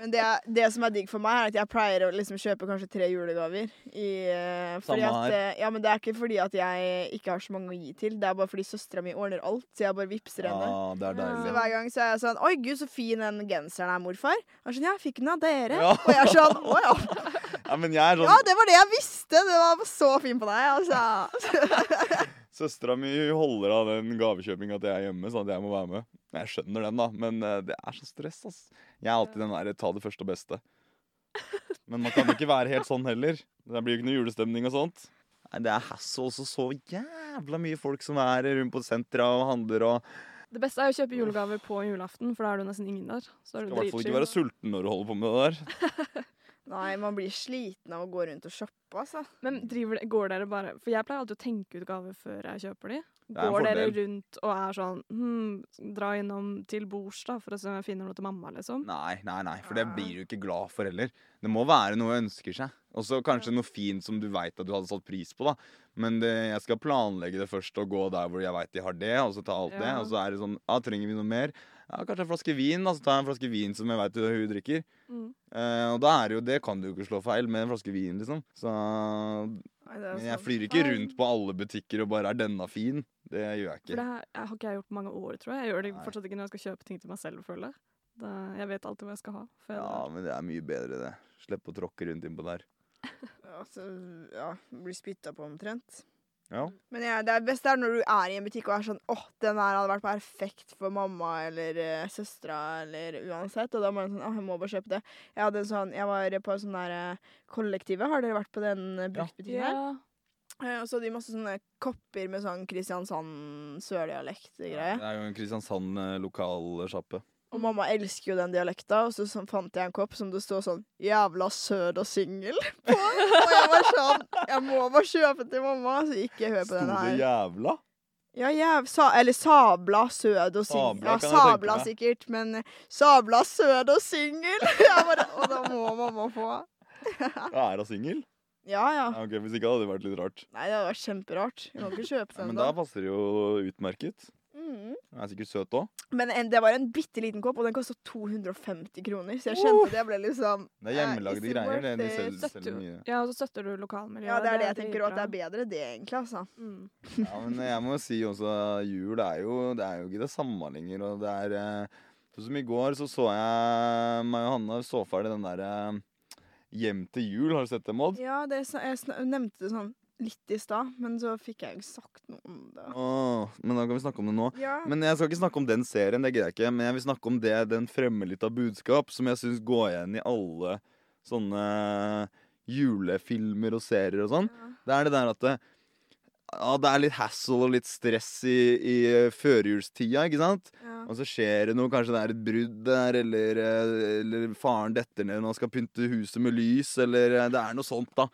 Men det, det som er digg for meg, er at jeg pleier å liksom kjøpe kanskje tre julegaver. I, eh, fordi
Samme
at,
her.
eh, ja, men det er ikke fordi at jeg ikke har så mange å gi til. Det er bare fordi søstera mi ordner alt, så jeg bare vippser
Ah, Ja,
henne.
det er
Ja.
Så
deilig.
hver gang så er jeg sånn Oi, gud, så fin den genseren er, morfar. Han er sånn, ja, jeg fikk den av dere.
Ja.
Og jeg er sånn, å ja.
(laughs) Ja, men jeg er
Ja,
sånn
det var det jeg visste! Det var så fin på deg, altså.
Søstera mi holder av den gavekjøpinga til jeg er hjemme, sånn at jeg må være med. Jeg skjønner den, da, men eh, det er så stress, ass. Jeg er alltid den derre ta det første og beste. Men man kan ikke være helt sånn heller. Det blir jo ikke noe julestemning og sånt. Nei, Det er hassle også så jævla mye folk som er rundt på sentra og handler og
Det beste er jo å kjøpe julegaver på julaften, for da er du nesten ingen der. Så
Skal
er du
i hvert fall ikke
dritchill.
være sulten når du holder på med det der.
Nei, man blir sliten av å gå rundt og shoppe, altså.
Men driver, de- går dere bare For jeg pleier alltid å tenke ut gaver før jeg kjøper de.
er en
Går dere
fordel.
rundt og er sånn hm, Dra innom til bords, da, for å se om jeg finner noe til mamma, liksom.
Nei, nei, nei, for det blir du ikke glad for heller. Det må være noe jeg ønsker seg. Og så kanskje noe fint som du veit at du hadde satt pris på. da Men det, jeg skal planlegge det først og gå der hvor jeg veit de har det, og så ta alt det.
Ja.
Og så er det sånn Ja, trenger vi noe mer? ja, kanskje en flaske vin. Da, så tar jeg en flaske vin som jeg veit hun drikker.
Mm.
Eh, og da er det jo det kan du jo ikke slå feil med en flaske vin, liksom. Så
Nei, det er
Men jeg
sant.
flyr ikke rundt på alle butikker og bare 'er denne fin'? Det gjør jeg
For det
ikke.
her- jeg har ikke jeg gjort på mange år, tror jeg. Jeg gjør det
Nei.
fortsatt ikke når jeg skal kjøpe ting til meg selv, føler jeg. Da, jeg vet alltid hva jeg skal ha. Før jeg
Ja,
drar.
men det er mye bedre, det. Slipp å tråkke rundt innpå der.
Altså, ja, blir spytta på omtrent.
Ja.
Men ja, det er best det er når du er i en butikk og er sånn åh, den her hadde vært perfekt for mamma eller uh, søstera eller uansett. Og da må jeg sånn åh, jeg må bare kjøpe det. Jeg, hadde en sånn, jeg var på sånn der eh, kollektive. Har dere vært på den eh, bruktbutikken her?
Ja.
Eh, Og så hadde de masse sånne kopper med sånn Kristiansand-sørdialekt-greie.
Det er jo en eh, Kristiansand-lokalsjappe.
Og mamma elsker jo den dialekta, og så sånn fant jeg en kopp som det står sånn 'jævla søt og singel' på. Og jeg var sånn Jeg må bare kjøpe til mamma, så ikke hør på
Sto
den
det
her.
jævla?
Ja, jæv, sa, eller sabla sød og singel.
Sabla
Ja,
kan jeg
sabla
tenke meg.
sikkert, men eh, sabla sød og singel! (laughs) Jeg bare Og da må mamma få.
Ja, er hun singel?
Ja ja.
Ja, ok, hvis ikke hadde det vært litt rart.
Nei, det hadde vært kjemperart. Jeg kan ikke kjøpe
Ja,
den
men
da.
da passer det jo utmerket.
Mm.
Hun er sikkert søt òg.
Men en, det var en bitte liten kopp, og den kosta 250 kroner, så jeg
Uh!
kjente at jeg ble liksom
Det er
Eh,
hjemmelagde
is it
greier. Det,
worth
de
it?
selger,
Støtter
selger
du-
mye.
ja, og så støtter du lokalmiljøet.
Ja, det er det jeg tenker òg, at det er
dritbra.
bedre det, egentlig, altså.
Mm.
Ja, men jeg må si også jul er jo, det er jo ikke det samme lenger. Og det er eh, Sånn som i går så så jeg meg og Hanne så ferdig den derre Hjem til jul, har du sett det, Maud?
Ja, det, er så- jeg sna- nevnte det sånn litt i stad, men så fikk jeg ikke sagt noe om det.
Åh, men da kan vi snakke om det nå.
Ja,
Men jeg skal ikke snakke om den serien, det greier jeg ikke. Men jeg vil snakke om det den fremmer litt av budskap, som jeg syns går igjen i alle sånne julefilmer og serier og sånn. Det er det der at det, ja, det er litt hassle og litt stress i, i førjulstida, ikke sant?
ja.
Og så skjer det noe, kanskje det er et brudd der, eller, eh, eller faren detter ned når han skal pynte huset med lys, eller eh, det er noe sånt, da.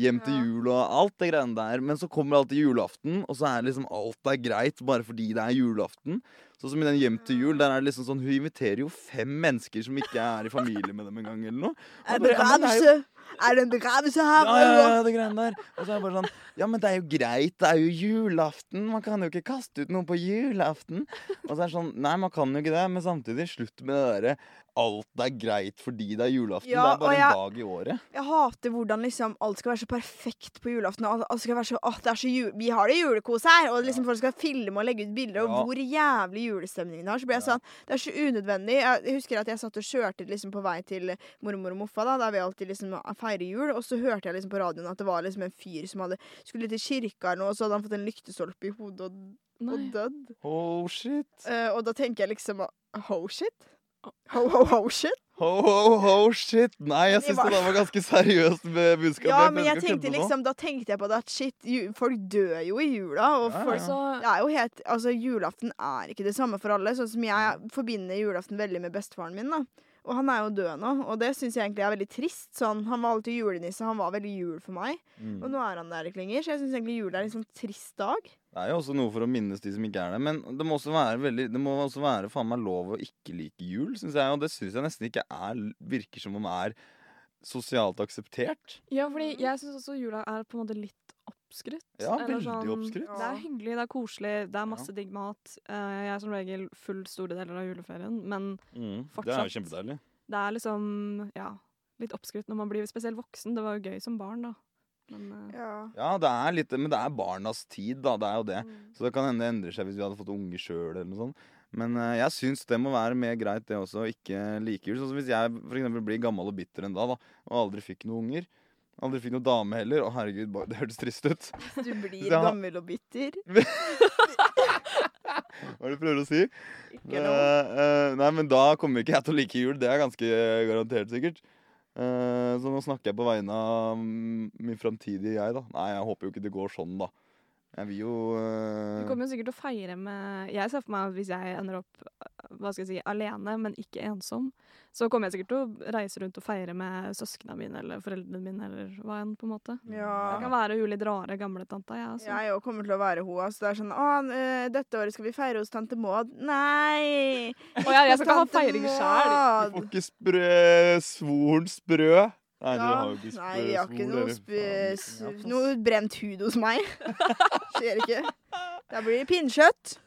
Hjem til
Ja.
jul og alt det greiene der. Men så kommer alltid julaften, og så er liksom alt er greit bare fordi det er julaften. Sånn som i den Hjem til jul, der er det liksom sånn Hun inviterer jo fem mennesker som ikke er i familie med dem engang, eller noe.
Er
Og
det
jeg bare, ja, men det er jo-
begravelse? Er det en begravelse her?
ja, ja, ja, det greiene der. Og så er det bare sånn Ja, men det er jo greit, det er jo julaften. Man kan jo ikke kaste ut noe på julaften. Og så er det sånn Nei, man kan jo ikke det, men samtidig, slutt med det derre Alt er greit fordi det er julaften.
Ja,
det er bare
og jeg-
en dag i året.
Jeg hater hvordan liksom alt skal være så perfekt på julaften. og Alt, alt skal være så, åh, det er så jul, Vi har det julekos her! Og liksom folk skal filme og legge ut bilder, og
Ja.
hvor jævlig julestemningen har. Så ble jeg
Ja.
sånn Det er så unødvendig. Jeg husker at jeg satt og kjørte liksom på vei til mormor og moffa, da, der vi alltid liksom feirer jul. Og så hørte jeg liksom på radioen at det var liksom en fyr som hadde skulle til kirka eller noe, og så hadde han fått en lyktestolpe i hodet og, og
Nei.
dødd.
Oh shit.
Eh, og da tenker jeg liksom Ho shit? Ho, ho, ho shit?
Ho, ho, ho shit. Nei, jeg
Det
syns
var-
det der var ganske seriøst med budskapet.
Ja,
prøvde
men
ikke
jeg
å
tenkte
kødde nå.
liksom, da tenkte jeg på det at shit, ju, folk dør jo i jula. Og
Ja, ja,
folk,
ja.
Så,
det er jo helt, altså Julaften er ikke det samme for alle. Sånn som jeg forbinder julaften veldig med bestefaren min. da. Og han er jo død nå, og det syns jeg egentlig er veldig trist. sånn, Han var alltid julenisse, han var veldig jul for meg. Og
Mm.
nå er han der ikke lenger, så jeg syns egentlig jul er en sånn trist dag.
Det er jo også noe for å minnes de som ikke er der. Men det må også være veldig Det må også være faen meg lov å ikke like jul, syns jeg. Og det syns jeg nesten ikke er Virker som om er sosialt akseptert.
ja, fordi jeg syns også jula er på en måte litt oppskrytt.
Ja,
eller sånn,
veldig oppskrytt.
Det er hyggelig, det er koselig, det er masse digg mat. Eh, jeg er som regel full store deler av juleferien, men
Mm, Det er jo
Fortsatt.
kjempedeilig.
det er liksom ja, litt oppskrytt når man blir spesielt voksen. Det var jo gøy som barn, da. Men, eh,
Ja.
Ja, det er litt Men det er barnas tid, da. Det er jo det.
mm.
Så det kan hende det endrer seg hvis vi hadde fått unge sjøl eller noe sånt. Men eh, jeg syns det må være mer greit, det også, å ikke like jul. Sånn som hvis jeg for eksempel blir gammel og bitter en dag, da, og aldri fikk noen unger. Aldri fikk noen dame heller. Å, herregud, bare- det hørtes trist ut.
Du blir
Ja.
gammel og bitter.
Hva er det du prøver å si?
Ikke noe.
Eh, eh, nei, men da kommer ikke jeg til å like jul. Det er ganske eh, garantert sikkert. Eh, så nå snakker jeg på vegne av mm, min framtidige jeg, da. Nei, jeg håper jo ikke det går sånn, da. Jeg vil jo
Du
eh,
kommer jo sikkert til å feire med Jeg ser for meg at hvis jeg ender opp eh, hva skal jeg si, alene, men ikke ensom, så kommer jeg sikkert til å reise rundt og feire med søsknene mine eller foreldrene mine eller hva enn, på en måte.
Ja.
Jeg kan være hun litt rare gamletanta, jeg. Altså.
Jeg òg kommer til å være hun. Altså, det er sånn Å, eh, dette året skal vi feire hos tante Maud. Nei!
Og jeg, jeg skal ikke ha
Tante
feiring sjæl.
Maud.
Du får ikke sprø svoren sprø. Nei, dere har jo ikke
Nei, vi har ikke
spor,
noe
dere.
sp-
Faen.
s- noe brent hud hos
(laughs)
meg. Skjer ikke. Da blir det pinnkjøtt.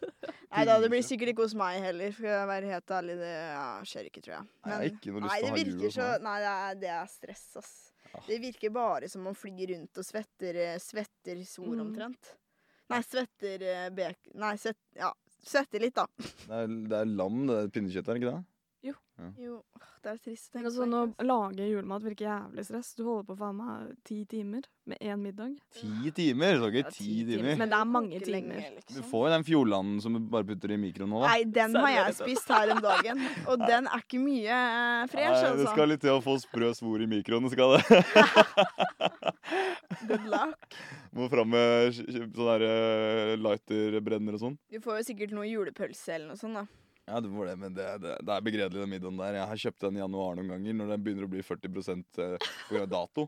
Nei da, det blir sikkert ikke hos meg heller, for å være helt ærlig. Det ja, skjer ikke, tror jeg.
Nei, jeg har ikke noe lyst
nei, det
til å ha jul sånn. Ah.
virker sånn.
hos
så
meg.
Nei, det er, det er stress, ass.
Ja.
Det virker bare som man flyr rundt og svetter, eh, svetter sor
Mm.
omtrent. Nei, svetter eh, bek... Nei, svett... Ja, svetter litt, da.
Det er, det er lam, det der pinnekjøttet, er det ikke det?
Jo, åh, det er trist. å tenke
Men altså,
på,
nå
egentlig, ass.
lage julemat virker jævlig stress. Du holder på faen meg ti timer med én middag.
Ti timer! Så
Ja,
ikke ti timer.
Men det er mange
Koker lenge,
timer.
liksom.
Du får jo den fjordlanden som du bare putter i mikroen nå, da.
Nei, den har jeg
Serverer det.
spist her om dagen, og den er ikke mye eh, fresh,
Nei, det skal
altså.
litt til å få sprø svor i mikroen, skal det.
Good luck.
Må fram med sk- sk- sånn der lighter-brenner og sånn.
Du får jo sikkert noe julepølse eller noe sånt, da.
Ja, det var det, men det, det, det er begredelig den middagen der. Jeg har kjøpt den i januar noen ganger når den begynner å bli 40 eh, på grunn av dato.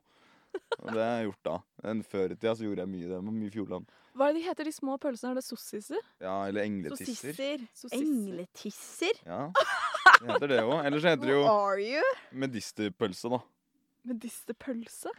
Og det har jeg gjort da. Men før i tida så gjorde jeg mye det med mye Fjordland.
Hva er det de heter, de små pølsene? Er det sossiser?
Ja, eller engletisser.
Sosisser.
Sossiser.
Engletisser?
Ja, det heter det òg. Eller så heter det
Who
jo
are you?
medisterpølse, da.
Medisterpølse?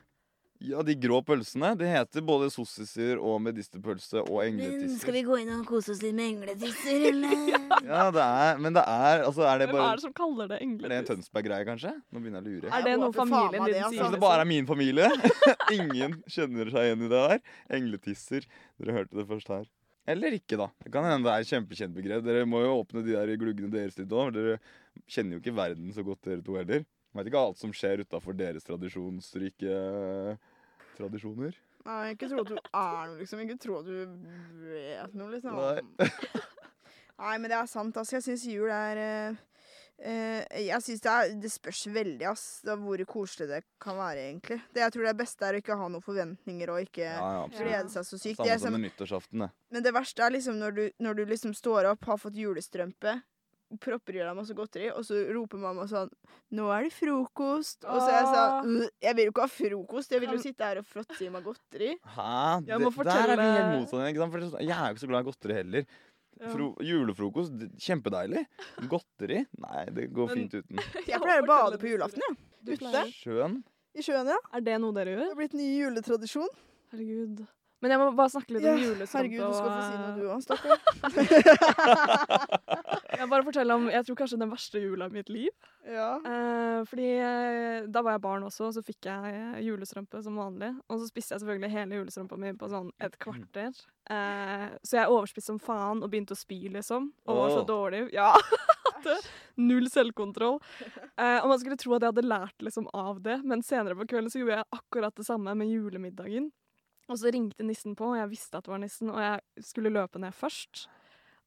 Ja, de grå pølsene. De heter både sossiser og medisterpølse og engletisser.
vi gå inn og kose oss litt med
(laughs)
engletisser, eller?
Ja, det er, men det er Altså, er det
Hvem
bare
er det som kaller
Er
det
det en
engletis?
Tønsberg-greie, kanskje? Nå begynner jeg å lure.
Er det
Jeg
noe
håper faen
familien
meg det,
din
altså.
sier?
Kanskje det bare er min familie? (laughs) Ingen kjenner seg igjen i det der. Engletisser. Dere hørte det først her. Eller ikke, da. Det kan hende det er et kjempekjent begrep. Dere må jo åpne de der gluggene deres litt òg. Dere kjenner jo ikke verden så godt, dere to heller. Veit ikke alt som skjer utafor deres tradisjonsrike eh, tradisjoner.
Nei, jeg ikke tro at du er noe, liksom. Ikke tro at du vet noe, liksom. Nei. men det er sant, altså. Jeg syns jul er eh, eh, Jeg syns det, er- det spørs veldig, ass, da, hvor koselig det kan være, egentlig. Det jeg tror det beste er å ikke ha noen forventninger og ikke
Ja, ja, absolutt.
glede seg så sykt. Det
Samme
er
som
som,
med nyttårsaften, det.
men det verste er liksom når du, når du liksom står opp, har fått julestrømpe, propper i deg masse godteri, og så roper mamma sånn 'Nå er det frokost.' Og så er jeg sånn «Øh, 'Jeg vil jo ikke ha frokost, jeg vil jo sitte her og fråtse i meg godteri'.
Hæ?
Jeg
Det-
må
Der er vi helt
fortelle-
motsatte. ikke sant? For det- Jeg er jo ikke så glad i godteri heller.
Ja. (laughs)
Fro julefrokost, d- kjempedeilig. Godteri? Nei, det går
Men-
fint uten.
Jeg pleier å bade på julaften, jeg.
Du
Ute.
pleier.
Sjøen?
I sjøen, ja.
Er det noe dere
Det
gjør?
har blitt ny juletradisjon.
Herregud. Men jeg må bare snakke litt
Ja,
om julestrømpe.
Herregud, du skal få si noe
og,
du òg, stakkar.
(laughs) eh, Jeg bare forteller om, jeg tror kanskje den verste jula i mitt liv.
Ja.
Eh, fordi eh, da var jeg barn også, og så fikk jeg eh, julestrømpe som vanlig. Og så spiste jeg selvfølgelig hele julestrømpa mi på sånn et kvarter. Eh, så jeg overspiste som faen og begynte å spy, liksom. Og var så
Åh.
dårlig. Ja. (laughs) Hadde Null selvkontroll. Eh, og man skulle tro at jeg hadde lært liksom av det, men senere på kvelden så gjorde jeg akkurat det samme med julemiddagen. Og så ringte nissen på, og jeg visste at det var nissen, og jeg skulle løpe ned først.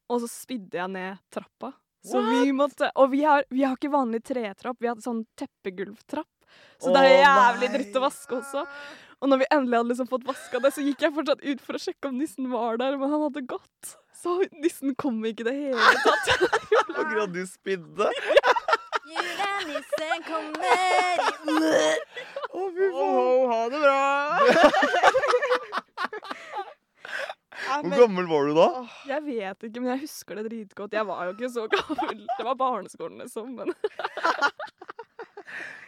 Og så spydde jeg ned trappa. Så vi måtte, og vi har, vi har ikke vanlig tretrapp, vi har sånn teppegulvtrapp. Så det er
Å,
jævlig
nei.
dritt å vaske også. Og når vi endelig hadde liksom fått vaska det, så gikk jeg fortsatt ut for å sjekke om nissen var der, men han hadde gått. Så nissen kom ikke i det hele tatt.
Akkurat du spydde.
Julenissen kommer i
Å, fy faen.
Oh, ha det bra! Nei,
Hvor
men,
gammel var du da?
Jeg vet ikke, men jeg husker det dritgodt. Jeg var jo ikke så gammel. Det var barneskolen, liksom. Men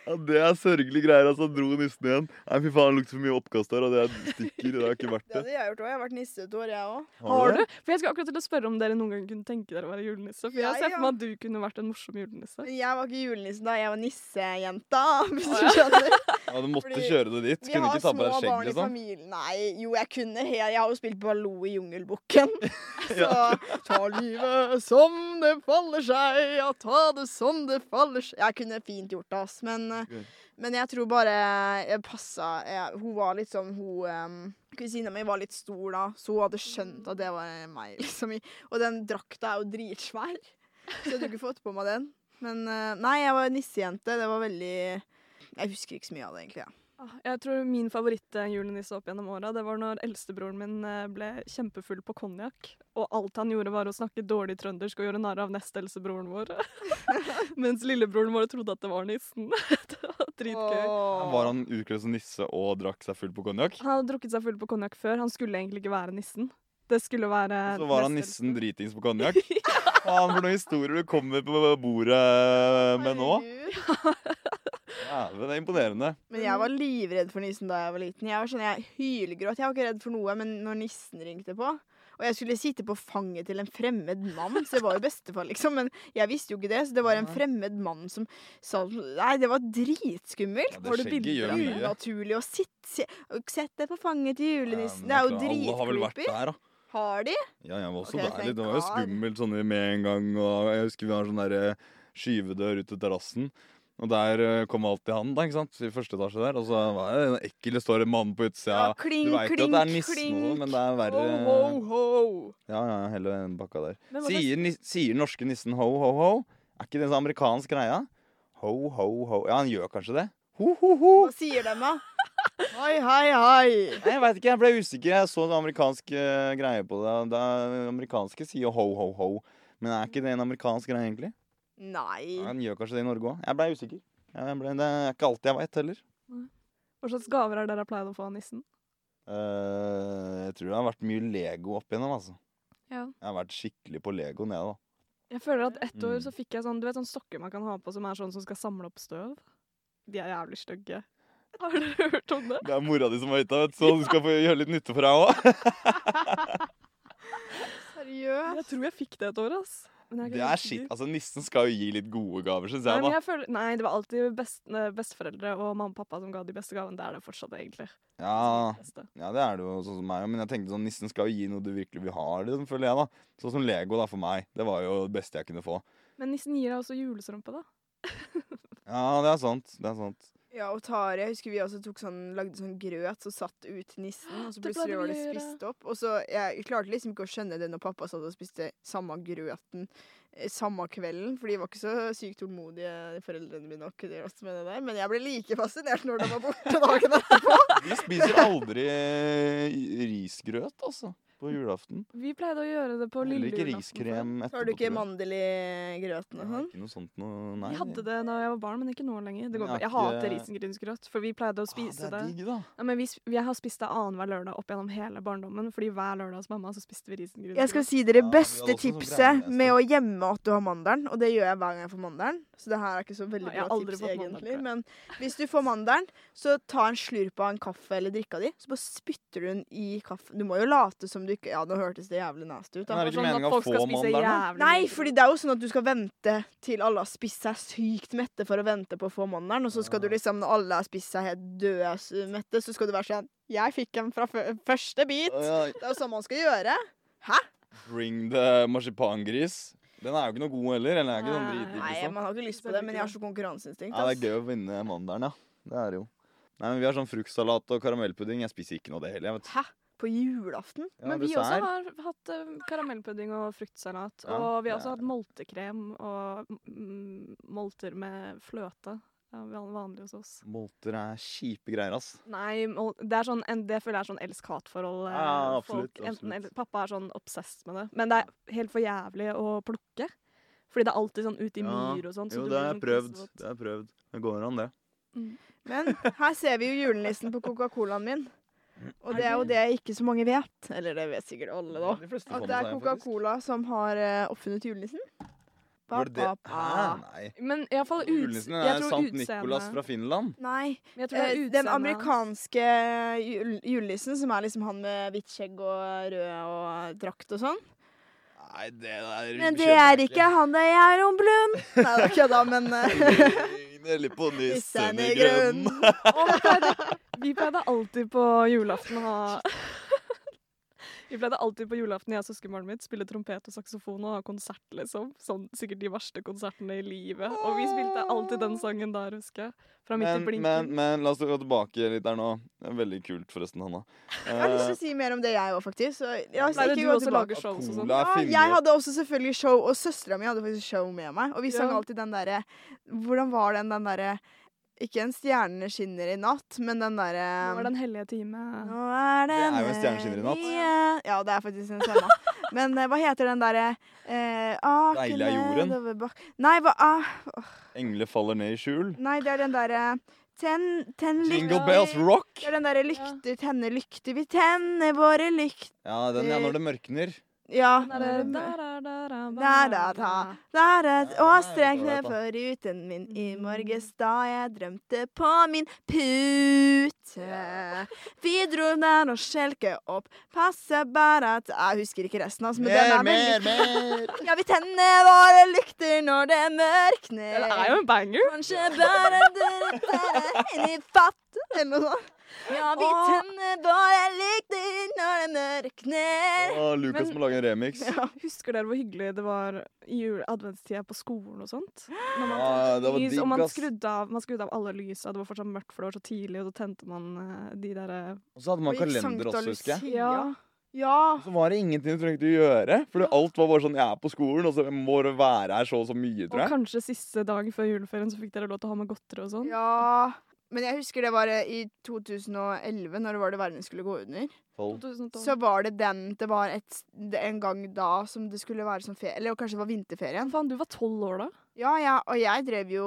Ja, det er sørgelige greier. altså, Dro nissen igjen. Nei, fy faen, det lukter for mye oppkast her, og det er stikker. Det har ikke
det
vært
(laughs)
det.
hadde jeg gjort òg. Jeg har vært nisse et år, jeg òg.
har du? For jeg skulle akkurat til å spørre om dere noen gang kunne tenke dere å være julenisse. For jeg
Jeg,
ser for
ja.
meg at du kunne vært en morsom julenisse.
Men jeg var ikke julenissen da, jeg var nissejenta. (laughs) Hvis du skjønner.
Ja, du måtte
Fordi
kjøre det dit.
Vi
Kunne
har
ikke ta på
små
deg skjegg,
barn i
liksom.
familien. Nei, jo, jeg kunne he- Jeg har jo spilt Baloo i
(laughs)
Jungelbukken. Så ta livet som det faller seg, ja, ta det som det faller seg Jeg kunne fint gjort det, ass, men, eh,
Ok.
men jeg tror bare jeg passa jeg, Hun var litt sånn Hun um, kusina mi var litt stor da, så hun hadde skjønt at det var meg, (laughs) liksom. i- Og den drakta er jo dritsvær, så jeg hadde ikke fått på meg den. Men eh, nei, jeg var nissejente. Det var veldig Jeg husker ikke så mye av det, egentlig. Ja.
Ah, Jeg tror min favorittjulenisse opp gjennom åra, det var når eldstebroren min eh, ble kjempefull på konjakk, og alt han gjorde var å snakke dårlig trøndersk og gjøre narr av nesteldstebroren vår. (laughs) Mens lillebroren vår trodde at det var nissen. (laughs) Det var dritgøy.
Åh.
Var han utkledd som nisse og drakk seg full på konjakk?
Han hadde drukket seg full på konjakk før, han skulle egentlig ikke være nissen. Det skulle være
Så var han
nesteldste-
nissen dritings på
(laughs)
konjakk? Faen, for noen historier du kommer på bordet med nå.
Herregud.
Ja, men det er imponerende.
Men jeg var livredd for nissen da jeg var liten. Jeg var sånn, jeg hylgråt. Jeg var ikke redd for noe, men når nissen ringte på Og jeg skulle sitte på fanget til en fremmed mann, så det var jo bestefar, liksom. Men jeg visste jo ikke det, så det var en fremmed mann som sa Nei, det var dritskummelt.
Ja,
Har du
det
bilder?
skjegget gjør mye.
Unaturlig å sitte se- Sett deg på fanget til julenissen.
Ja, men
det er jo
vet du hva, Alle har vel vært
dritcreepy.
der, da.
Har de?
Ja, jeg var også
Ok,
der litt. Det var jo
thank God.
skummelt sånn med en gang. Og jeg husker vi har sånn der eh, skyvedør ut til terrassen. Og der eh, kom alltid han, da, ikke sant? I første etasje der. Og så var det en ekkel, det står en mann på utsida.
Ja, kling,
du veit jo at
kling,
det er nissen, og
kling.
sånn, men det er eh, verre.
Ho, ho, ho.
Ja, ja, hele den bakka der.
Men hva slags-
Sier, nis- sier norske nissen ho, ho, ho? Er ikke det en sånn amerikansk greia? Ho, ho, ho. Ja, han gjør kanskje det. Ho, ho, ho.
Hva sier de, da? Hei, hei, hei.
Nei, jeg veit ikke. Jeg ble usikker. Jeg så en amerikansk eh, greie på det. Det er- eh, amerikanske sier ho, ho, ho. Men er ikke det en amerikansk greie, egentlig?
Nei.
Ja, den gjør kanskje det i Norge òg. Jeg ble usikker. Ja, Jeg ble, det er ikke alltid jeg veit heller.
Hva slags gaver er det dere har pleid å få av nissen?
Eh, jeg tror det har vært mye Lego opp igjennom, altså.
Ja.
Jeg har vært skikkelig på Legoen, jeg, da.
Jeg føler at ett år
Mm.
så fikk jeg sånn Du vet sånn sokker man kan ha på som er sånn som skal samle opp støv? De er jævlig stygge. (laughs) Har dere hørt om det?
Det er mora di som har hytta, vet du, så du skal få gjøre litt nytte for deg òg.
Seriøst?
Jeg tror jeg fikk det et år, ass. Men jeg
Det
ikke
er
helt
shit.
sikker.
Altså, nissen skal jo gi litt gode gaver, syns
Nei,
jeg,
men
da.
jeg føler, nei, det var alltid best, eh, besteforeldre og mamma og pappa som ga de beste gavene. Det er det fortsatt, egentlig.
Ja,
Beste.
ja, det er det jo sånn som meg òg, men jeg tenkte sånn, nissen skal jo gi noe du virkelig vil ha, liksom, føler jeg, da. Sånn som Lego, da, for meg. Det var jo det beste jeg kunne få.
Men nissen gir deg også julestrømpe, da.
Ja, det er sant. Det er sant.
Ja, og Tari, jeg husker vi også tok sånn, lagde sånn grøt som satt ut til nissen, og så
Det
plutselig
pleide
var
vi
det
å gjøre.
spist opp. Og så, Jeg klarte liksom ikke å skjønne det når pappa satt og spiste samme grøten eh, samme kvelden, for de var ikke så sykt tålmodige, foreldrene mine, og ikke de også med det der. Men jeg ble like fascinert når de var borte dagen etterpå.
Vi spiser aldri risgrøt, altså. På julaften.
Vi pleide å gjøre det på
Heller
lille
ikke
julaften før.
riskrem etterpå.
Så har du ikke
tror jeg.
mandel i grøten og
Nei,
sånn?
Ikke noe sånt noe, nei.
Hm? Vi hadde det da jeg var barn, men ikke nå lenger. Det
Jeg
går bra. Jeg
har ikke-
hater risengrynsgrøt, for vi pleide å spise
ah, det.
det.
er digg, da.
Ja, men vi, sp- jeg har spist det annenhver lørdag opp gjennom hele barndommen, fordi hver lørdag hos mamma så spiste vi risengrynsgrøt.
Jeg skal si
Ja,
dere
vi hadde også
beste
sånn
tipset
brennevin en
med å gjemme at du har mandelen, og det gjør jeg hver gang jeg får mandelen, så det her er ikke så veldig
Nei, jeg har
bra
aldri
tips
fått mandel,
egentlig,
tror jeg.
men hvis du får mandelen, så ta en slurp av en kaffe eller drikka di, så bare spytter du den i kaffen. Du må jo late som du ikke Ja, nå hørtes det jævlig nasty ut,
Men
da.
er det
Sånn
ikke meningen å få mandelen, da?
Nei, fordi det er jo sånn at du skal vente til alle har spist seg sykt mette for å vente på å få mandelen, og så skal du liksom, når alle har spist seg helt døde s- mette, så skal du være sånn Jeg fikk den fra fø- første bit!
Å,
Det er
ja.
jo sånn man skal gjøre.
Bring the marsipangris. Den er jo ikke noe god heller. Den er ikke sånn
Nei.
dritdigg,
Nei,
liksom.
man har ikke lyst på det, men jeg har så konkurranseinstinkt.
Ja, det
ass.
er gøy å vinne mandelen, ja. Det er det jo. Nei, men Vi har sånn fruktsalat og karamellpudding. Jeg spiser ikke noe av det heller. jeg vet
Hæ? På julaften?
Ja,
men vi også
dessert.
har hatt eh, karamellpudding og fruktsalat.
Ja,
og vi har
det er-
også hatt moltekrem og mm, molter med fløte. Det er van- vanlig hos oss.
Molter er kjipe greier, ass.
Nei, mol- det, er sånn, en, det føler jeg er sånn elsk-hat-forhold. eh,
Ja, absolutt,
folk.
absolutt.
Enten el- pappa er sånn obsess med det. Men det er helt for jævlig å plukke. Fordi det er alltid sånn ute i
Ja,
myr og sånn. så
Jo,
du
det
blir
har
sånn
jeg prøvd.
klissvåt.
Det har jeg prøvd. Det går an, det.
Men her ser vi jo julenissen på Coca-Colaen min. Og det er jo det ikke så mange vet. Eller det vet sikkert alle, da.
De fleste
At det
får med
er
seg en, faktisk.
Coca-Cola som har eh, oppfunnet julenissen. Ba,
Var det det?
ba,
Hæ?
ba.
Nei.
Men iallfall
Julenissen er Sankt Nikolas fra Finland.
Nei.
Jeg tror det
eh,
er
Den
utseendet
amerikanske eh, jul julenissen, som er liksom han med hvitt skjegg og eh, rød og drakt og sånn.
Nei, det der
Men det er ikke han der jeg er om blund. Nei, det er ikke da, men eh, (laughs)
(laughs) Eller på nissen i
grønn.
grønn.
Å, vi pleide- Vi pleide alltid på julaften å ha (laughs) Vi pleide alltid på julaften, jeg og søskenbarnet mitt, spille trompet og saksofon og ha konsert, liksom. Sånn, sikkert de verste konsertene i livet. Og vi spilte alltid den sangen der, husker jeg. Fra midt i
Men, men,
blinken.
men la oss gå tilbake litt der nå. Det er veldig kult, forresten, Hanna.
(laughs) Jeg har lyst til å si mer om det, jeg òg, faktisk. Så, ja, så
Nei, det
ikke
du
gå
også
tilbake.
lager shows og sånn.
Cola
Ja,
finner
jeg hadde også selvfølgelig show, og søstera mi hadde faktisk show med meg. Og vi sang
Ja.
alltid den derre Hvordan var den den derre Ikke en stjerne skinner i natt, men den derre
Det var den hellige time.
Nå er det
Det er jo en stjerne skinner i natt.
natt. Ja, det er faktisk en stjerne. men eh, hva heter den derre eh, «Ake
Deilig er jorden».
nedover bak- Nei, hva ah,
Engler Eh, faller ned i skjul.
Nei, det er den derre Tenn ten
Jingle bells rock!
Det er den derre lykter, tenne lykter, vi tenner våre lykter
Ja, den ja, når det mørkner.
Ja.
Da,
Da,
da, da, da,
da, da, da. da.
Ja,
Og
det går
strek
greit,
ned
da.
for ruten min
Mm.
i morges da jeg drømte på min pute. Vi dro der og skjelke opp, passe bare at Jeg husker ikke resten, altså, men den
Mer,
er veldig
mer, mer!
Ja, vi tenner våre lykter når det mørkner.
Det er jo en banger.
Kanskje bare dere dere inn i fatt, eller noe sånt. Ja, vi
Åh.
tenner våre lykter når det mørkner.
Og Lukas
Men-
må lage
(laughs)
en remix.
Ja.
Husker dere hvor hyggelig det var i jule- adventstida på skolen og sånt? Når man
Ja, det var
lys, og
digg,
man
ass.
skrudde, av, man skrudde av alle lysa, det var fortsatt mørkt, for det var så tidlig, og så tente man eh, de derre
Og så hadde man kalender også, husker jeg.
Ja.
Ja.
ja.
Så var det ingenting du trengte å gjøre. For alt var bare sånn Jeg er på skolen, og så må du være her så og så mye,
Og
tror jeg.
kanskje siste dag før juleferien så fikk dere lov til å ha med godteri og sånn.
Ja. Men jeg husker det var eh, i 2011, når det var det verden skulle gå under.
Tolv.
2012.
Så var det den Det var et, det en gang da som det skulle være sånn ferie Eller kanskje det var vinterferien.
Faen, du var tolv år da.
Ja, ja, og jeg drev jo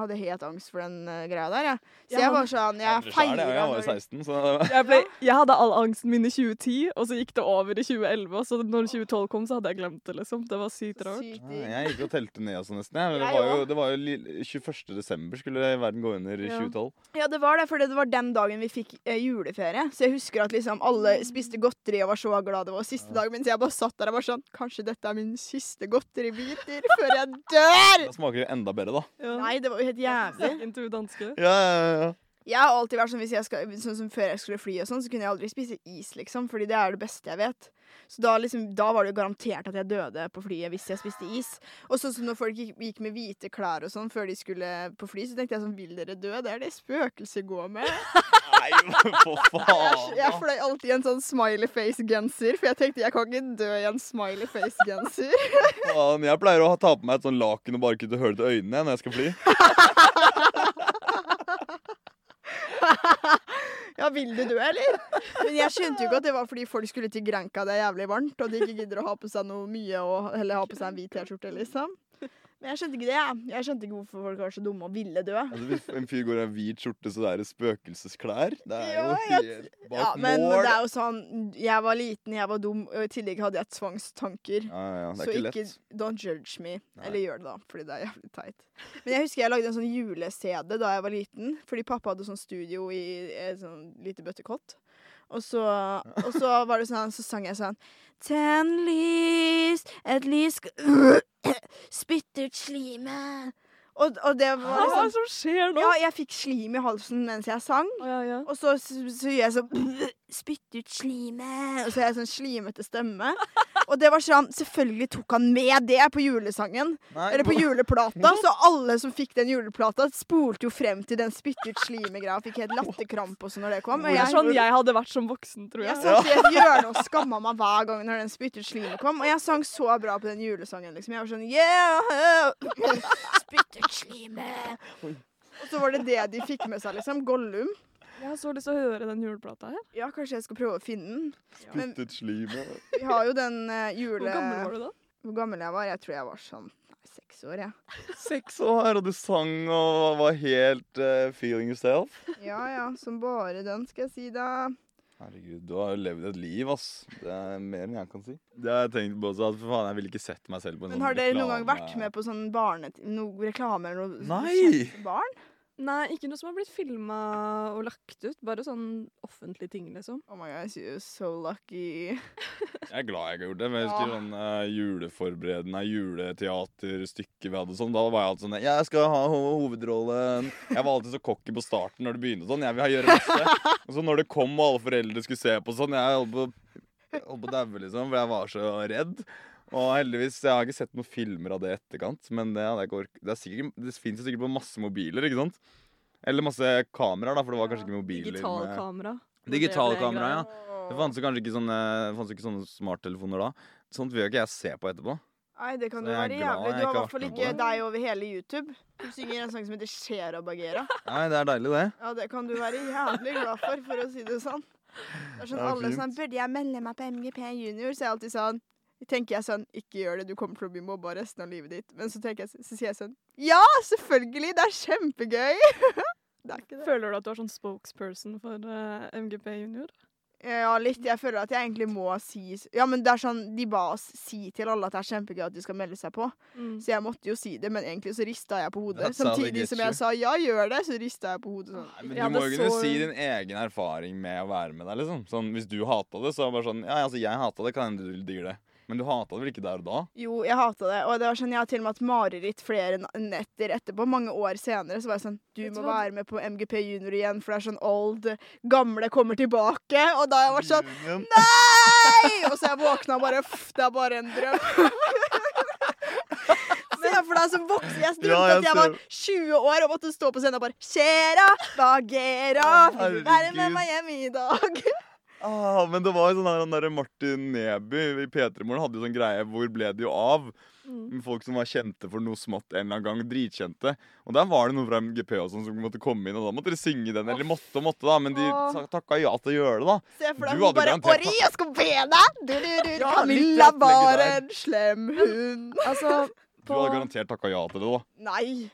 hadde helt angst for den eh, greia der, jeg. Så
Ja,
jeg
men-
var sånn
Jeg
Jeg
tror selv det,
feira
Jeg var jo 16, så det var-
Jeg, ble, jeg hadde all angsten min i 2010, og så gikk det over i 2011. Og så når 2012 kom, så hadde jeg glemt det, liksom. Det var sykt rart.
sykt
Nei,
digg.
Jeg gikk og telte ned også nesten. Jeg. Men Det
Jeg
var jo,
også.
det var jo li- 21. desember skulle verden gå under i
Ja.
2012.
Ja, det var det, for det var den dagen vi fikk eh, juleferie. Så jeg husker at liksom alle spiste godteri og var så glad det var siste dag, mens jeg bare satt der og var sånn Kanskje dette er min siste godteribiter før jeg dør!
Da smaker det enda bedre, da.
Ja.
Nei, det var jo helt jævlig.
Sekken til danske.
Ja, ja, ja.
Jeg har alltid vært sånn hvis jeg skal, sånn som før jeg skulle fly og sånn, så kunne jeg aldri spise is, liksom, fordi det er det beste jeg vet. Så da, liksom, da var det jo garantert at jeg døde på flyet hvis jeg spiste is. Og sånn som når folk gikk, gikk med hvite klær og sånn før de skulle på fly, så tenkte jeg sånn Vil dere dø? Det er det spøkelset går med.
Nei, men for faen!
Jeg, jeg fløy alltid i en sånn smiley face-genser, for jeg tenkte jeg kan ikke dø i en smiley face-genser.
Faen, jeg pleier å ha- ta på meg et sånn laken og bare kutte hull til øynene når jeg skal fly.
Ja, vil du dø, eller? (laughs) Men jeg skjønte jo ikke at det var fordi folk skulle til Granca, det er jævlig varmt, og de ikke gidder å ha på seg noe mye, og heller ha på seg en hvit T-skjorte, liksom. Men jeg skjønte ikke det, jeg. Jeg skjønte ikke hvorfor folk var så dumme og ville dø.
Altså, hvis en fyr går i en hvit skjorte, så det er det spøkelsesklær. Det er jo
Ja, jeg-
helt bak
Ja, men
mål.
det er jo sånn, jeg var liten, jeg var dum, og i tillegg hadde jeg tvangstanker.
Ja, ja, ja, det
Så
er ikke
ikke,
lett.
don't judge me.
Nei.
Eller gjør det, da, fordi det er jævlig teit. Men jeg husker jeg lagde en sånn jule-CD da jeg var liten, fordi pappa hadde sånn studio i et sånn lite bøttekott. Og så, og så var det sånn, så sang jeg sånn Tenn lys, et lys sk- (clears throat)
Spytt ut slimet.
og, og det
Hva
var
er det
liksom
som skjer nå?
Ja, jeg fikk slim i halsen mens jeg sang.
Å, ja, ja.
Og så, så, så gjør jeg sånn (clears throat)
Spytt ut slimet.
Og så har jeg sånn slimete stemme. Og det var sånn Selvfølgelig tok han med det på julesangen.
Nei,
Eller på
(laughs) hvor-
juleplata. Så alle som fikk den juleplata, spolte jo frem til den spyttet slime-greia. Fikk helt latterkrampe også når det kom. Og
Det er sånn
jeg,
jeg hadde vært som voksen, tror
jeg
jeg.
satt i et hjørne og skamma meg hver gang når den spyttet slime kom. Og jeg sang så bra på den julesangen, liksom. Jeg var sånn yeah! (laughs)
Spytt ut slimet.
Og så var det det de fikk med seg, liksom. Gollum.
Jeg har så lyst til å høre den juleplata her.
Ja, kanskje jeg skal prøve å finne den. Men
Puttet slimet.
vi har jo den eh, jule...
Hvor gammel var du da?
Hvor gammel jeg var? Jeg tror jeg var sånn nei, seks år, jeg. (laughs)
Seks år, og du sang og var helt eh, feeling yourself.
Ja. ja ja, som bare den, skal jeg si da.
Herregud, du har jo levd et liv, ass. Det er mer enn jeg kan si. Det har jeg tenkt på også, at for faen, jeg ville ikke sett meg selv på en
Men
sånn
har dere noen gang
reklame.
vært med på sånn barne... Noe reklame eller noe? sånn
Nei!
kjent Barn?
Nei, ikke noe som har blitt filma og lagt ut. Bare sånn offentlige ting, liksom.
Oh my god, you're so lucky.
Jeg er glad jeg ikke har gjort det. Men jeg husker sånn eh, juleforberedende juleteaterstykke vi hadde og sånn. Da var jeg alltid sånn Jeg skal ha ho- hovedrollen. Jeg var alltid så cocky på starten når det begynte sånn. Jeg vil ha gjøre masse. Og så når det kom og alle foreldre skulle se på sånn, jeg holdt på jeg holdt på å daue, liksom, for jeg var så redd. Og heldigvis, Jeg har ikke sett noen filmer av det i etterkant, men det hadde jeg ikke ork- Det, er sikkert- det fins sikkert på masse mobiler, ikke sant? Eller masse kameraer, da, for det var kanskje ikke mobiler. med-
Digitalkamera.
Digitalkamera, ja. Det fantes jo kanskje ikke sånne, det fantes jo ikke sånne smarttelefoner da. Sånt vil jo ikke jeg se på etterpå.
Nei, det kan
Så
jo
jeg er
være
glad
jævlig.
jeg
Du har i
ikke
hvert fall
har vært med
ikke
på
deg over hele YouTube. Du synger en sang som heter Shera Bagheera.
Nei, det er deilig, det.
Ja, det kan du være jævlig glad for, for å si det sånn. Det er
Det
sånn
er
alle er
fint.
sånn Burde jeg melde meg på MGP junior? Så jeg er alltid sånn Tenker jeg sånn Ikke gjør det, du kommer til å bli mobba resten av livet ditt. Men så tenker jeg så sier jeg sånn Ja, selvfølgelig! Det er kjempegøy! (laughs) det er ikke det.
Føler du at du er sånn spokesperson for eh, MGP junior?
Ja, litt. Jeg føler at jeg egentlig må si Ja, men det er sånn, de ba oss si til alle at det er kjempegøy at de skal melde seg på.
Mm.
Så jeg måtte jo si det, men egentlig så rista jeg på hodet.
That's how they
Samtidig
get
som
you.
jeg sa ja, gjør det, så rista jeg på hodet sånn.
Nei, men
Ja,
Du må
det
jo kunne
så-
si din egen erfaring med å være med deg. liksom sånn, Hvis du hata det, så er det bare sånn Ja, altså, jeg hata det, kan hende du digger det. Men du hata det vel ikke der og da?
Jo, jeg hata det. Og det var sånn, jeg har til og med hatt mareritt flere na- netter etterpå. Mange år senere så var jeg sånn Du
Vet du
må
hva?
være med på MGP junior igjen, for det er sånn old. Gamle kommer tilbake. Og da har jeg vært sånn
Union.
Nei! Og så jeg våkna og bare Uff, det er bare en drøm. (laughs) Se for deg som voksen. Jeg drømte
Ja, jeg
at jeg var 20 år og måtte stå på scenen og bare Kjera, bagera, vil du være
Herregud.
med meg hjem i dag?
Ah, men det var jo sånn her, han derre Martin Neby i P3 Morgen hadde jo sånn greie 'Hvor ble det jo av?'
Mm.
Med folk som var kjente for noe smått en eller annen gang. Dritkjente. Og der var det noen fra MGP og sånn som måtte komme inn, og da måtte dere synge den. Eller måtte og måtte, da, men de
Åh.
sa- takka ja til å gjøre det, da.
Se for deg hun
Du hadde
bare
garantert
Ori, jeg skal be deg! Du, du, du.
Ja, litt
Camilla
opplegget
var
der.
en slem hund.
(laughs) Altså,
Du hadde
på,
garantert takka ja til det, da.
Nei.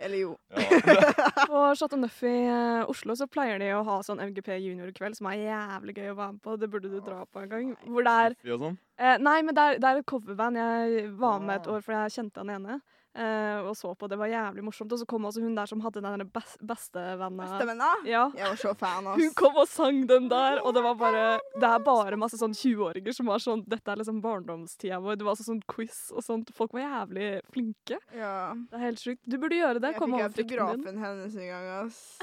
Eller jo.
(laughs) Ja.
på Chateau Neuf i eh, Oslo så pleier de å ha sånn MGP junior-kveld som er jævlig gøy å være med på. Det burde du dra på en gang. Hvor det er
Ja, sånn.
Eh, nei, men det er, det er et coverband. Jeg var med et
Ah.
år fordi jeg kjente han ene. eh, og så på, det var jævlig morsomt. Og så kom også hun der som hadde den der bes bestevenna.
Bestevenna?
Ja.
Jeg var så fan,
Hun
ass.
kom og sang den der, og det var bare Det er bare masse sånn 20-åringer som var sånn Dette er liksom barndomstida vår. Det var også sånn quiz og sånt. Folk var jævlig flinke.
Ja.
Det er helt sjukt. Du burde gjøre det.
Jeg
Komme
fikk
over frykten din.
autografen hennes en gang, ass.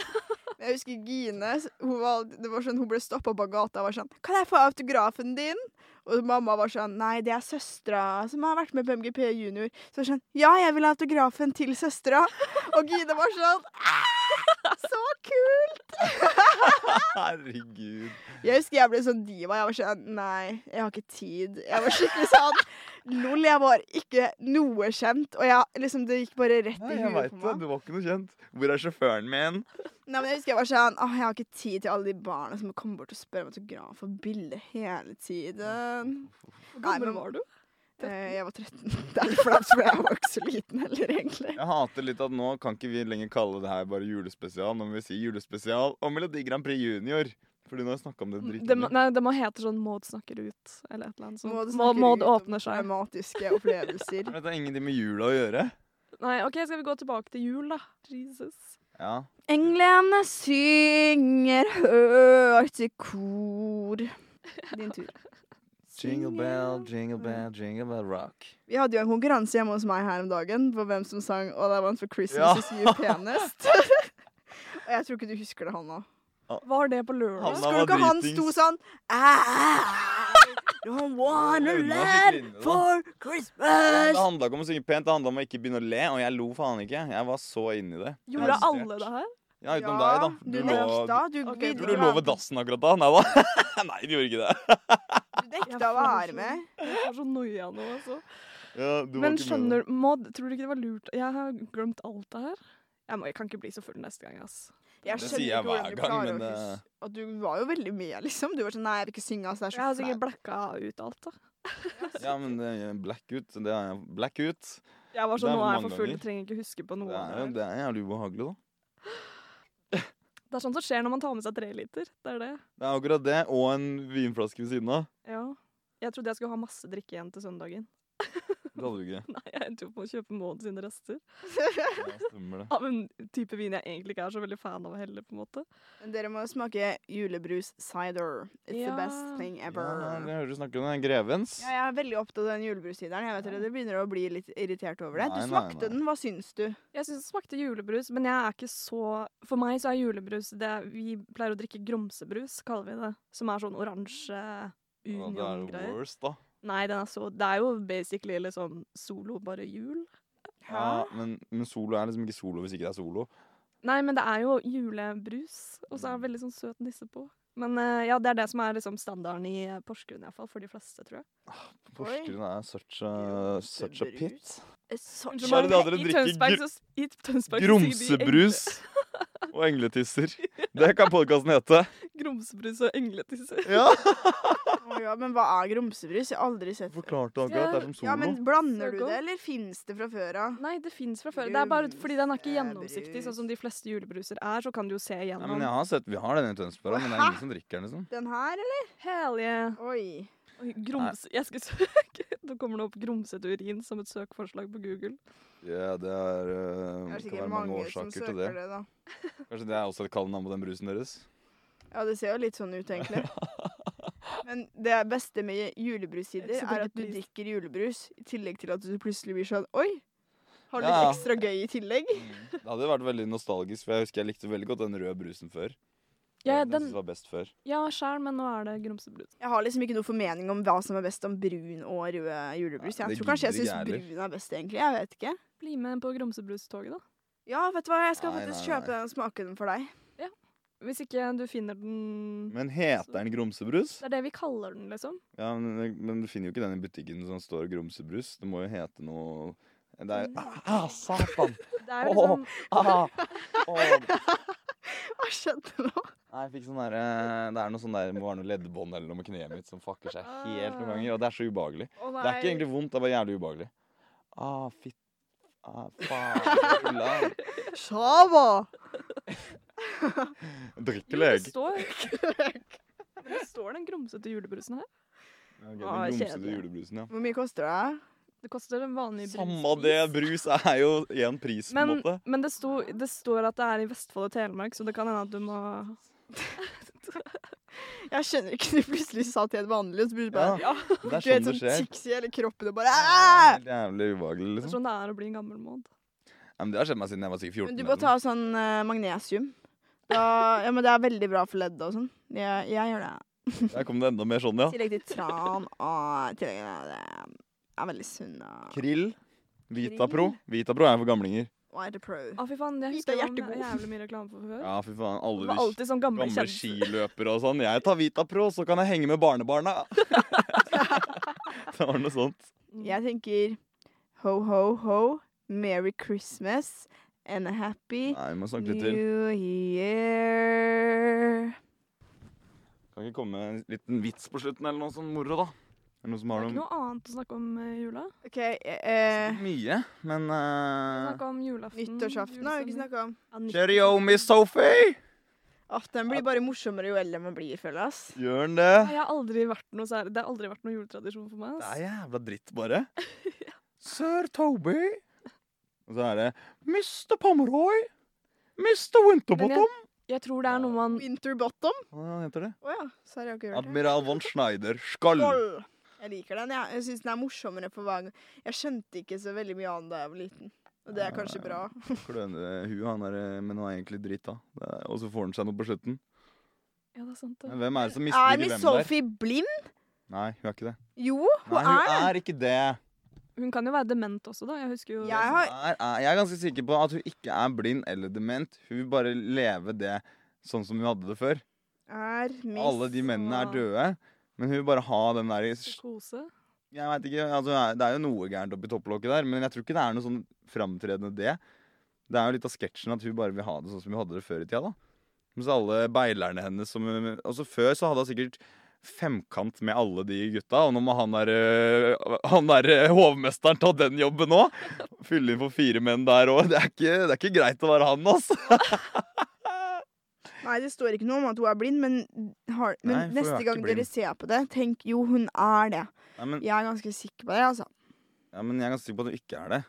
Men jeg husker Gine, s- hun, var, det var sånn, hun ble stoppa på gata og var sånn 'Kan jeg få autografen din?' Og mamma var sånn 'Nei, det er søstera som har vært med på MGP junior'. Så var det sånn 'Ja, jeg vil ha autografen til søstera'. Og Gine var sånn «Ah, Så kul!
Herregud.
Jeg husker jeg ble sånn diva. Jeg var sånn Nei, jeg har ikke tid. Jeg var skikkelig sånn Lol, jeg var ikke noe kjent. Og jeg, liksom, det gikk bare rett
Nei,
i
jeg
huet
veit
på
det.
meg.
Du var ikke noe kjent. Hvor er sjåføren min?
Nei, men jeg husker jeg var sånn Åh, jeg har ikke tid til alle de barna som kommer bort og spør om autograf og bilde hele tiden. Nei,
Hvor gammel
men-
var du?
Eh, jeg var 13. (laughs) Det er litt flaut, for jeg var ikke så liten heller, egentlig.
Jeg hater litt at nå kan ikke vi lenger kalle det her bare julespesial. Nå må vi si julespesial og Melodi Grand Prix Junior. Fordi nå har jeg snakka om det
Det, må-
dritmye.
nei, det må hete sånn Maud snakker ut, eller et eller annet sånt.
Maud snakker
Maud, Maud
ut om
åpner seg.
Dramatiske opplevelser.
Men Dette har ingenting med jula å gjøre.
Nei, OK, skal vi gå tilbake til jul, da? Jesus.
Ja.
Englene synger høyt i kor. Din tur.
Jingle bell, jingle bell, jingle bell rock.
Vi hadde jo en konkurranse hjemme hos meg her om dagen på hvem som sang All I Want for
Ja.
Christmas is
(laughs)
You penest. Og jeg tror ikke du husker det, Hanna.
Var det på lørdag?
Hanna
Husker du
var
ikke han
dritings.
sto sånn
I don't wanna
Hun var
let
skikkelig inne, da.
for
Det
Christmas.
handla ikke om å synge pent, det handla om å ikke begynne å le. Og jeg lo faen ikke. Jeg var så inni det. Jeg
Gjorde
var
alle det her?
Ja, utenom deg, da.
Du
lå-
nekta. Du,
Ok,
bidro
Tror
til
du du lå
å
ved
være-
dassen akkurat da? Nei da. (laughs) Nei, du gjorde ikke det.
du nekta å være med.
Jeg har så noia nå, altså.
Ja, du var ikke
Men
med.
skjønner Maud, tror du ikke det var lurt? Jeg har glemt alt det her. Jeg, må, jeg kan ikke bli så full neste gang, ass.
Jeg
Det
skjønner
sier jeg
ikke hvordan
hver
du
gang,
klarer å
men, eh,
huske Og du var jo veldig med, liksom. Du var sånn Nei, jeg vil ikke synge, altså. Det
Jeg har
er så
sikkert
flaut.
blacka ut alt, da.
Ja, men det er blackout. Det er blackout.
Jeg var
Det
sånn,
er
nå er jeg
mange
for full,
ganger.
trenger ikke huske på noe.
Det
av
er,
Det,
jo- det er jævlig ubehagelig, da.
her. det er sånt som skjer når man tar med seg tre liter. Det er det.
Det er akkurat det, og en vinflaske ved siden av.
Ja. Jeg trodde jeg skulle ha masse drikke igjen til søndagen. (laughs)
Det hadde du ikke.
Nei, jeg endte jo på å kjøpe Maud sine rester.
Ja, stemmer
(laughs)
det.
Av en type vin jeg egentlig ikke er så veldig fan av heller, på en måte.
Men Dere må smake julebrus cider. It's
Ja.
the best thing
Ja,
ever.
jeg hører du snakker om den grevens.
Ja, jeg er veldig opptatt av den julebrustideren. Jeg vet dere, det begynner å bli litt irritert over det. Du
Nei, nei,
smakte
nei.
den, hva syns du?
Jeg syns det smakte julebrus, men jeg er ikke så For meg så er julebrus det Vi pleier å drikke gromsebrus, kaller vi det. Som er sånn oransje
Og det er jo
union-greier.
worst, da.
Nei, den er så Det er jo basically liksom solo, bare jul.
Ja, men, men solo er liksom ikke solo hvis ikke det er solo.
Nei, men det er jo julebrus, og
Mm.
så er det veldig sånn søt nisse på. Men eh, ja, det er det som er liksom standarden i eh, Porsgrunn, iallfall. For de fleste, tror jeg.
Porsgrunn er such a, such a pit.
Gromsebrus.
Hva er det dere
I
drikker?
Tønsberg
Gr-
så- i Tønsberg så sier de
Gromsebrus! og engletisser. Det kan podkasten hete.
Grumsebrus og engletisser.
Ja,
Å ja, men hva er grumsebrus? Jeg har aldri sett det.
Forklarte akkurat. Det er som
Ja,
solo.
men Blander
Så
du
godt.
det, eller fins det fra før av?
Nei, det fins fra før. Det er bare fordi den er ikke gjennomsiktig,
Grumsebrus.
sånn som de fleste julebruser er. Så kan du jo se
Nei,
igjennom.
men jeg har sett, Vi har den i Tønsberg, men det er ingen som drikker den. liksom
Den her, eller?
Hell yeah.
Oi.
Oi, Grums... Jeg skal søke. (laughs) Nå kommer det opp grumsete urin som et søkeforslag på Google.
Ja, Det er,
Det
uh,
er
kan
sikkert
være
mange,
mange
som
årsaker
søker
til
det.
det.
da.
Kanskje det er også et kallenavn på den brusen deres?
Ja, det ser jo litt sånn ut,
(laughs)
egentlig. Men det beste med julebrussidder
Så
er at du
drikker
drikker julebrus, i tillegg til at du plutselig blir sånn Oi! Har du
Ja.
litt ekstra gøy i tillegg?
Det hadde jo vært veldig nostalgisk, for jeg husker jeg likte veldig godt den røde brusen før.
Ja,
den,
den,
synes jeg var best før.
ja sjæl, men nå er det grumsebrus.
Jeg har liksom ikke noe formening om hva som er best om brun og rød julebrus.
Nei,
Jeg
det
tror kanskje jeg
gidder ikke
syns
jeg heller.
brun er best, egentlig. Jeg vet ikke.
Bli med på grumsebrustoget, da.
Ja, vet du hva, jeg skal
Nei,
faktisk
nei, nei.
kjøpe den og smake den for deg. (laughs)
Hvis ikke du finner den
Men heter den grumsebrus?
Det er det vi kaller den, liksom.
Ja, men, men du finner jo ikke den i butikken som står grumsebrus. Det må jo hete noe Det
Mm.
er Ah, ah, satan!
Det er jo liksom
Ah, Åh.
Hva skjedde nå?
Nei, jeg fikk sånn der, eh, Det er noe sånn der, det må være noe leddbånd eller noe med kneet mitt som fucker seg
Ah.
helt noen ganger. Og det er så ubehagelig.
Å
Det er ikke
nei.
egentlig vondt, det er bare jævlig ubehagelig. Ah, fitt... Ah, faen. (laughs) Ulla.
Sjava!
Drikker
Jo, det
lege.
står
(laughs)
Men Det står den grumsete julebrusen her.
Ja, ok,
Ah,
Den grumsete
kjedelig.
julebrusen, ja.
Hvor mye koster det?
Det koster en vanlig brus.
Samme det, brus er jo én pris, på en
Men,
måte.
men det, sto, det står at det er i Vestfold og Telemark, så det kan hende at du må
Liksom.
Jeg skjønner ikke du plutselig sa til helt vanlig, og så blir du bare (laughs)
Ja, det er
Du vet
sånn det
sånn Ah!
skjer.
tics i hele kroppen og bare
Det
Æ!
er helt Jævlig ubehagelig,
Det er
liksom.
sånn det er å bli en gammel måd.
Ja, men det har skjedd meg siden jeg var sikkert 14.
Men du
eller
må
noe.
ta sånn eh, magnesium. Da, ja, men det er veldig bra for leddet og sånn. Jeg, jeg gjør det.
Der kom det enda mer sånn,
I
ja.
tillegg til tran og i tillegg til det er veldig sunn og
Krill. Vitapro. Vitapro er for gamlinger.
og er det pro.
Å, fy faen, jeg
Vita
husker det var
hjertegod.
jævlig mye reklame for før.
Ja, fy faen.
Det
Alle
var
de
alltid sånn gamle
Gamle
kjendiser.
skiløpere og sånn. Jeg tar Vitapro, så kan jeg henge med barnebarna. (laughs) det var noe sånt.
Mm.
Jeg tenker ho, ho, ho, merry Christmas and a happy
Nei, vi må snakke litt til.
new year.
Kan ikke komme med en liten vits på slutten eller noe sånn moro, da? Er det noen som
Det
har
er ikke
noe?
noe annet å snakke om i jula.
OK, eh,
Mye, men eh,
Snakke om julaften.
nyttårsaften har vi ikke
julestemning.
snakka om.
Ja, nytt-
Cheerio, Miss Sophie!
Aff, Den blir bare morsommere jo eldre man blir, føler jeg. ass.
Gjør den det?
Nei, Jeg har aldri vært noe særlig. Det har aldri vært noen juletradisjon for meg.
Det
ass.
er jævla dritt, bare. Sir Toby. Og så er det Mr. Pomeroy. Mr.
Men
Winterbottom.
jeg, jeg tror det er noe man
Winterbottom.
Hva heter det?
Å ja, så har jeg ikke hørt det.
Admiral von Schneider. Skall.
Skål! Jeg liker den. Jeg, jeg syns den er morsommere for hver gang. Jeg skjønte ikke så veldig mye av den da jeg var liten. Og det er kanskje bra.
Kløne hu, han er eh, Men han er egentlig dritt, da. Det er- Og så får han seg noe på slutten.
Ja, det er sant.
Men
Det.
Hvem er det som
Er
misliker
Miss
Eh, hvem der?
Sophie blind?
Nei, hun er ikke det.
Jo, hun
Nei,
er det.
hun er ikke det.
Hun kan jo være dement også, da. Jeg husker jo
Jeg
Hun
har
Er, er, jeg er ganske sikker på at hun ikke er blind eller dement. Hun vil bare leve det sånn som hun hadde det før.
er Miss
Alle de mennene er
Åh.
døde, men hun vil bare ha den der
psykose.
Jeg vet ikke, altså, Det er jo noe gærent oppi topplokket der, men jeg tror ikke det er noe sånn framtredende det. Det er jo litt av sketsjen at hun bare vil ha det sånn som hun hadde det før i tida. da. Mens alle beilerne hennes som Altså Før så hadde hun sikkert femkant med alle de gutta, og nå må han der, øh, han der øh, hovmesteren ta den jobben òg. Fylle inn for fire menn der òg. Det, er ikke- det er ikke greit å være han, altså.
Nei, det står ikke noe om at hun er blind, men, har, men
Nei, for hun er
neste
ikke
gang
blind.
dere ser på det, tenk jo, hun er det.
Nei, men,
Jeg er ganske sikker på det, altså.
ja, men jeg er ganske sikker på at hun ikke er det.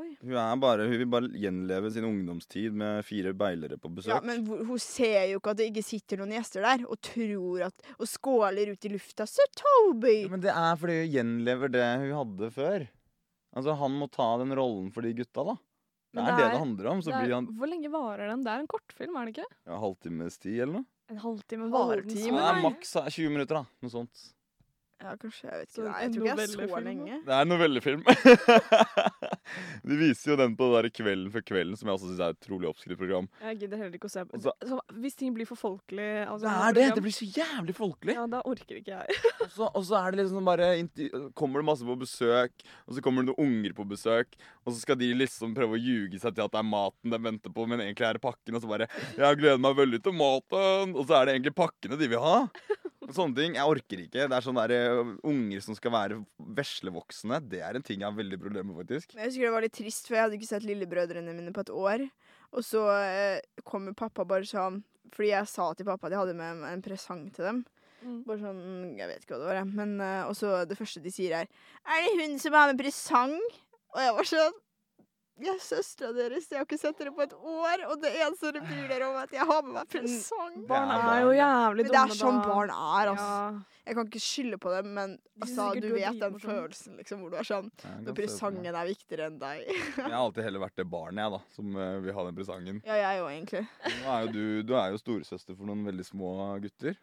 Oi.
Hun, er bare, hun vil bare gjenleve sin ungdomstid med fire beilere på besøk.
Ja, men hvor- hun ser jo ikke at det ikke sitter noen gjester der, og tror at Og skåler ut i lufta. Sir Toby!
Ja, men det er fordi hun gjenlever det hun hadde før. Altså, han må ta den rollen for de gutta, da. Det
Men
er
det
det
er-
det handler om. Så
Det er-
blir han
Hvor lenge varer den? Det er en kortfilm, er det ikke?
ja, halvtimes tid eller noe.
En
Halvtime,
halvtime? Valden
Ja,
Svei.
maks 20 minutter, da. Noe sånt.
Ja, kanskje. Jeg vet
Så
ikke. Nei, jeg
en
tror ikke jeg så
novellefilm, da?
lenge.
Det er en novellefilm. (laughs) de viser jo den på det der Kvelden før kvelden, som jeg også syns er et utrolig oppskrytt program.
Jeg gidder heller ikke å se på
Altså-
så, Hvis ting blir for folkelig altså, av
Det
sånne
er det!
program,
Det blir så jævlig folkelig.
Ja, da orker ikke jeg.
Og så, og så er det liksom bare intervju- Kommer det masse på besøk, og så kommer det noen unger på besøk, og så skal de liksom prøve å ljuge seg til at det er maten de venter på, men egentlig er det pakken, og så bare 'Jeg gleder meg veldig til maten', og så er det egentlig pakkene de vil ha. Og Sånne ting. Jeg orker ikke. Det er sånn der, eh, Unger som skal være veslevoksne, det er en ting jeg har veldig problemer med, faktisk.
Men Jeg husker det var litt trist, for jeg hadde ikke sett lillebrødrene mine på et år. Og så eh, kommer pappa bare sånn Fordi jeg sa til pappa at jeg hadde med en- en presang til dem.
(laughs) Mm.
Bare sånn Jeg vet ikke hva det var, jeg. Men eh, og så det første de sier, er Er det hun som har med presang? Og jeg var sånn Jeg er søstera deres, jeg har ikke sett dere på et år. Og det eneste dere bryr dere om, er at jeg har med meg presang.
Barn
er
er jo
Men
jævlig
det
dumme,
er sånn
da.
barn er, altså.
Ja.
Jeg kan ikke skylde på dem, men
De synes
altså,
sikkert
du
du er
vet den
dritmorsom.
følelsen liksom, hvor du er sånn
Jeg kan se
Når
for meg.
presangen er viktigere enn deg. (laughs)
Jeg har alltid heller vært det barnet, jeg, da, som eh, vil ha den presangen.
Ja, jeg òg, egentlig.
Nå er jo du, du er jo storesøster for noen veldig små gutter.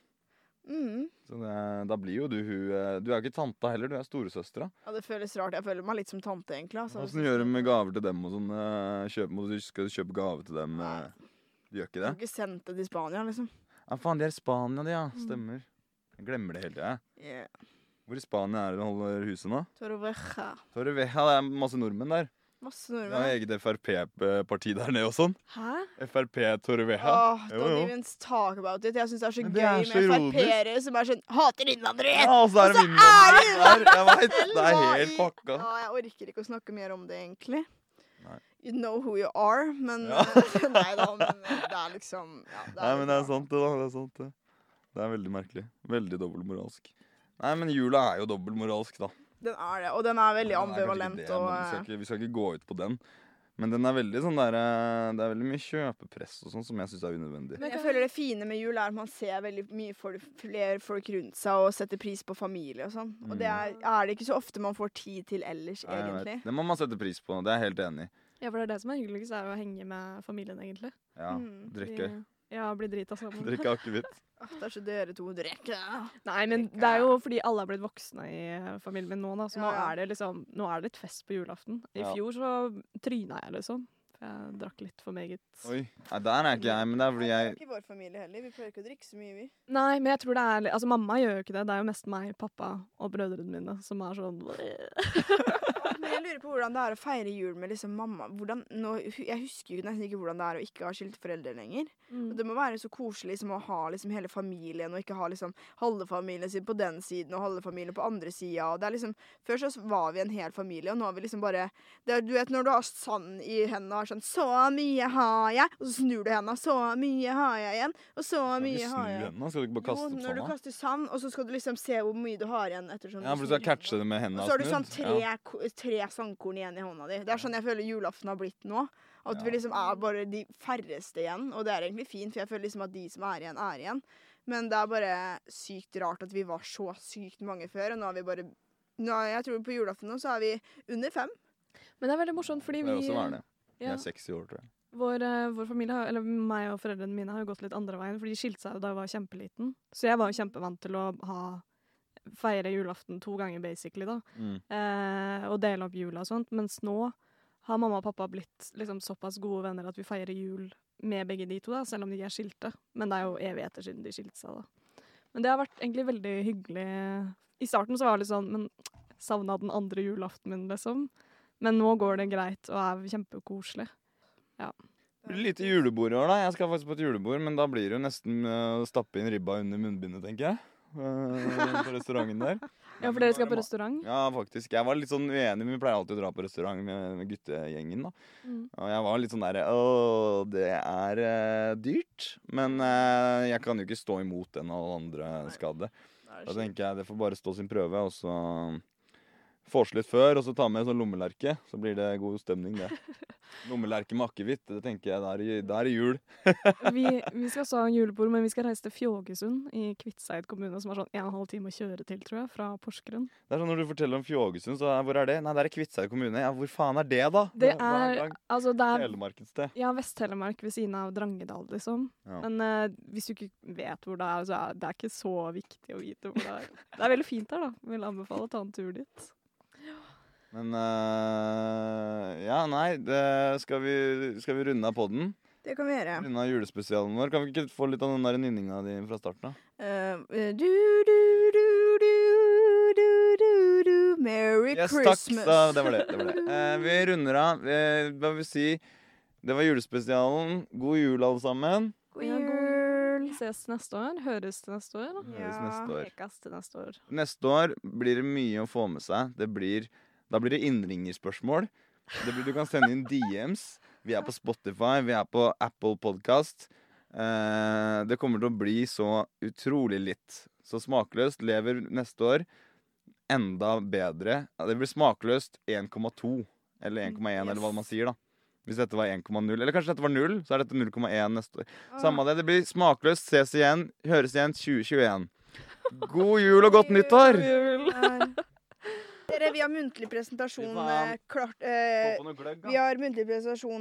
Mm.
Så det, da blir jo du hun eh, Du er jo ikke tanta heller, du er storesøstera.
Ja, det føles rart. Jeg føler meg litt som tante, egentlig. Altså.
Åssen gjør du med gaver til dem og sånn? eh, Kjøp, må du skal du kjøpe gave til dem? eh? Du gjør ikke
Jeg
det?
har ikke sendt det til Spania, liksom.
Ja, faen, de er i Spania, de, ja. Stemmer. Jeg glemmer det hele tida. jeg.
Yeah.
Hvor i Spania er det du holder huset nå?
Torreveja.
Torrevieja, det er masse nordmenn der.
Masse
Det er
nordmenn.
eget Frp-parti der nede og sånn.
Hæ?
Frp Torrevieja.
Åh,
Jo,
don't
jo.
even talk about it. Jeg syns det er så
Men det
gøy
er så
med
ironisk.
Frp-ere som er sånn Hater innvandrere!
Ja, og så er det innvandrere der! Jeg vet, Det er helt
LHI.
pakka.
Ja, jeg orker ikke å snakke mer om det, egentlig.
Nei.
You know who you are, men (laughs)
Ja.
Nei da, men det er liksom ja, det er
Nei, men det er
litt rart.
sant det, da. Det er sant det. Det er veldig merkelig. Veldig dobbeltmoralsk. Nei, men jula er jo dobbeltmoralsk, da.
Den er det, og den er veldig
Den er kanskje ikke
ambivalent.
det, men
og, eh,
vi, skal ikke, vi skal ikke gå ut på den. Men den er veldig sånn der, eh, det er veldig mye kjøpepress og sånn som jeg syns er unødvendig.
Men jeg føler det fine med jul er at man ser veldig mye folk, flere folk rundt seg og setter pris på familie og sånn. Og det er, er det ikke så ofte man får tid til ellers,
Mm. Nei, jeg
egentlig.
vet. Eh, Det må man sette pris på. Det er jeg helt enig i.
Ja, for det er det som er hyggeligst, er jo å henge med familien, egentlig.
Ja,
Mm,
drikke.
De- Ja, bli drita sammen.
(laughs) Drikke
(laughs)
akevitt.
Åh, Det er så dere to drikker.
Nei, men det er jo fordi alle er blitt voksne i eh, familien min nå, da. Så nå
Ja, ja.
er det liksom Nå er det litt fest på julaften. I
Ja.
fjor så tryna jeg, liksom. For jeg drakk litt for meget.
Oi. Nei, der er ikke jeg, men det er fordi jeg
ikke vår familie heller. Vi pleier ikke å drikke så mye, vi.
Nei, men jeg tror det er li- Altså, mamma gjør jo ikke det. Det er jo mest meg, pappa og brødrene mine som er sånn
Men jeg lurer på hvordan det er å feire jul med liksom mamma. Hvordan, nå, jeg husker jo nesten ikke hvordan det er å ikke ha skilte foreldre lenger. Og
mm.
Det må være så koselig liksom, å ha liksom, hele familien, og ikke ha liksom, halve familien sin på den siden og halve familien på andre sida. Og det er liksom, før så var vi en hel familie, og nå er vi liksom bare det er, Du vet når du har sand i hendene og har sånn 'Så mye har jeg', og så snur du hendene 'Så mye har jeg igjen', og 'så
Kan du
mye
ikke
har
snu
jeg'.
hendene? Skal du ikke bare
Jo,
kaste opp
når du
sanda?
kaster sand, og så skal du liksom se hvor mye du har igjen. sånn Ettersom
Ja, for du skal catche det med hendene.
og så har du
snudd.
sånn tre, ko- tre sandkorn igjen i hånda di. Det er sånn jeg føler julaften har blitt nå. At vi
Ja.
liksom er bare de færreste igjen. Og det er egentlig fint, for jeg føler liksom at de som er igjen, er igjen. Men det er bare sykt rart at vi var så sykt mange før, og nå er vi bare nå, er- Jeg tror på julaften nå så er vi under fem.
Men det er veldig
sånn,
morsomt, fordi
Ja.
vi
Det er også være det. Jeg
Ja,
er 60 år, tror jeg.
vår, eh, vår familie, har- eller meg og foreldrene mine, har jo gått litt andre veien, for de skilte seg jo da jeg var kjempeliten. Så jeg var jo kjempevant til å ha feire julaften to ganger, basically, da.
Mm.
eh, og dele opp jula og sånt. Mens nå har mamma og pappa blitt liksom, såpass gode venner at vi feirer jul med begge de to, da, selv om de er skilte. Men det er jo evigheter siden de skilte seg, da. Men det har vært egentlig veldig hyggelig. I starten så var det litt sånn, men savna den andre julaften min, liksom. Men nå går det greit og er kjempekoselig.
Det blir lite julebord i år, da. Jeg skal faktisk på et julebord, men da blir det jo nesten eh, å stappe inn ribba under munnbindet, tenker jeg. Eh, på restauranten der.
(laughs) Ja, for dere skal på restaurant?
Ja, faktisk. Jeg var litt sånn uenig, men vi pleier alltid å dra på restaurant med, med guttegjengen, da.
Mm.
Og jeg var litt sånn derre Å, det er eh, dyrt. Men eh, jeg kan jo ikke stå imot den og alle andre skal det. Da tenker jeg det får bare stå sin prøve, og så Forse litt um, før, og så ta med en sånn lommelerke. Så blir det god stemning, det. Lommelerke med akevitt, det tenker jeg. Da er det- da er det jul.
Vi, vi skal også ha en julebord, men vi skal reise til Fjågesund i Kvitseid kommune, som er sånn en og en halv time å kjøre til, tror jeg, fra Porsgrunn.
Det er sånn Når du forteller om Fjågesund, så er, hvor er det? Nei, det er i Kvitseid kommune. Ja, hvor faen er det, da?
Det
Hva
er-
det?
Altså, det er
Telemark et sted.
ja, Vest-Telemark ved siden av Drangedal, liksom.
Ja.
Men eh, hvis du ikke vet hvor det er, så er det er ikke så viktig å vite hvor det er. Det er veldig fint her, da. Vil anbefale å ta en tur dit.
Men eh, Ja, nei, det skal, vi, skal vi runde av podden?
Det kan vi
Mm.
gjøre.
Runde av julespesialen vår? Kan vi ikke få litt av den der nynninga di fra starten av?
Eh, du, du, du, du, du, du, du. Merry
Yes, takk.
Christmas.
Da, det var det. det, var det.
(laughs)
Eh, vi runder av. Eh, hva vil vi si? Det var julespesialen. God jul, alle sammen.
God
Ja, god
jul.
Vi ses til neste år. Høres til neste år.
Høres
Ja.
neste år.
Prekes til neste år.
Neste år blir det mye å få med seg. Det blir, da blir det innringerspørsmål. Det blir, du kan sende inn DMs. Vi er på Spotify, vi er på Apple Podcast. Eh, det kommer til å bli så utrolig litt. Så smakløst lever neste år enda bedre. Ja, Det blir smakløst 1,2 eller 1,1 eller hva man sier, da. Hvis dette var 1,0, eller kanskje dette var 0, så er dette 0,1 neste år. Samme av det, det blir smakløst. Ses igjen, høres igjen 2021. God jul og godt nyttår!
Der. Eh, Dere, vi har muntlig presentasjon
Fy faen.
eh, klart eh,
noe gløgg,
Vi har muntlig presentasjon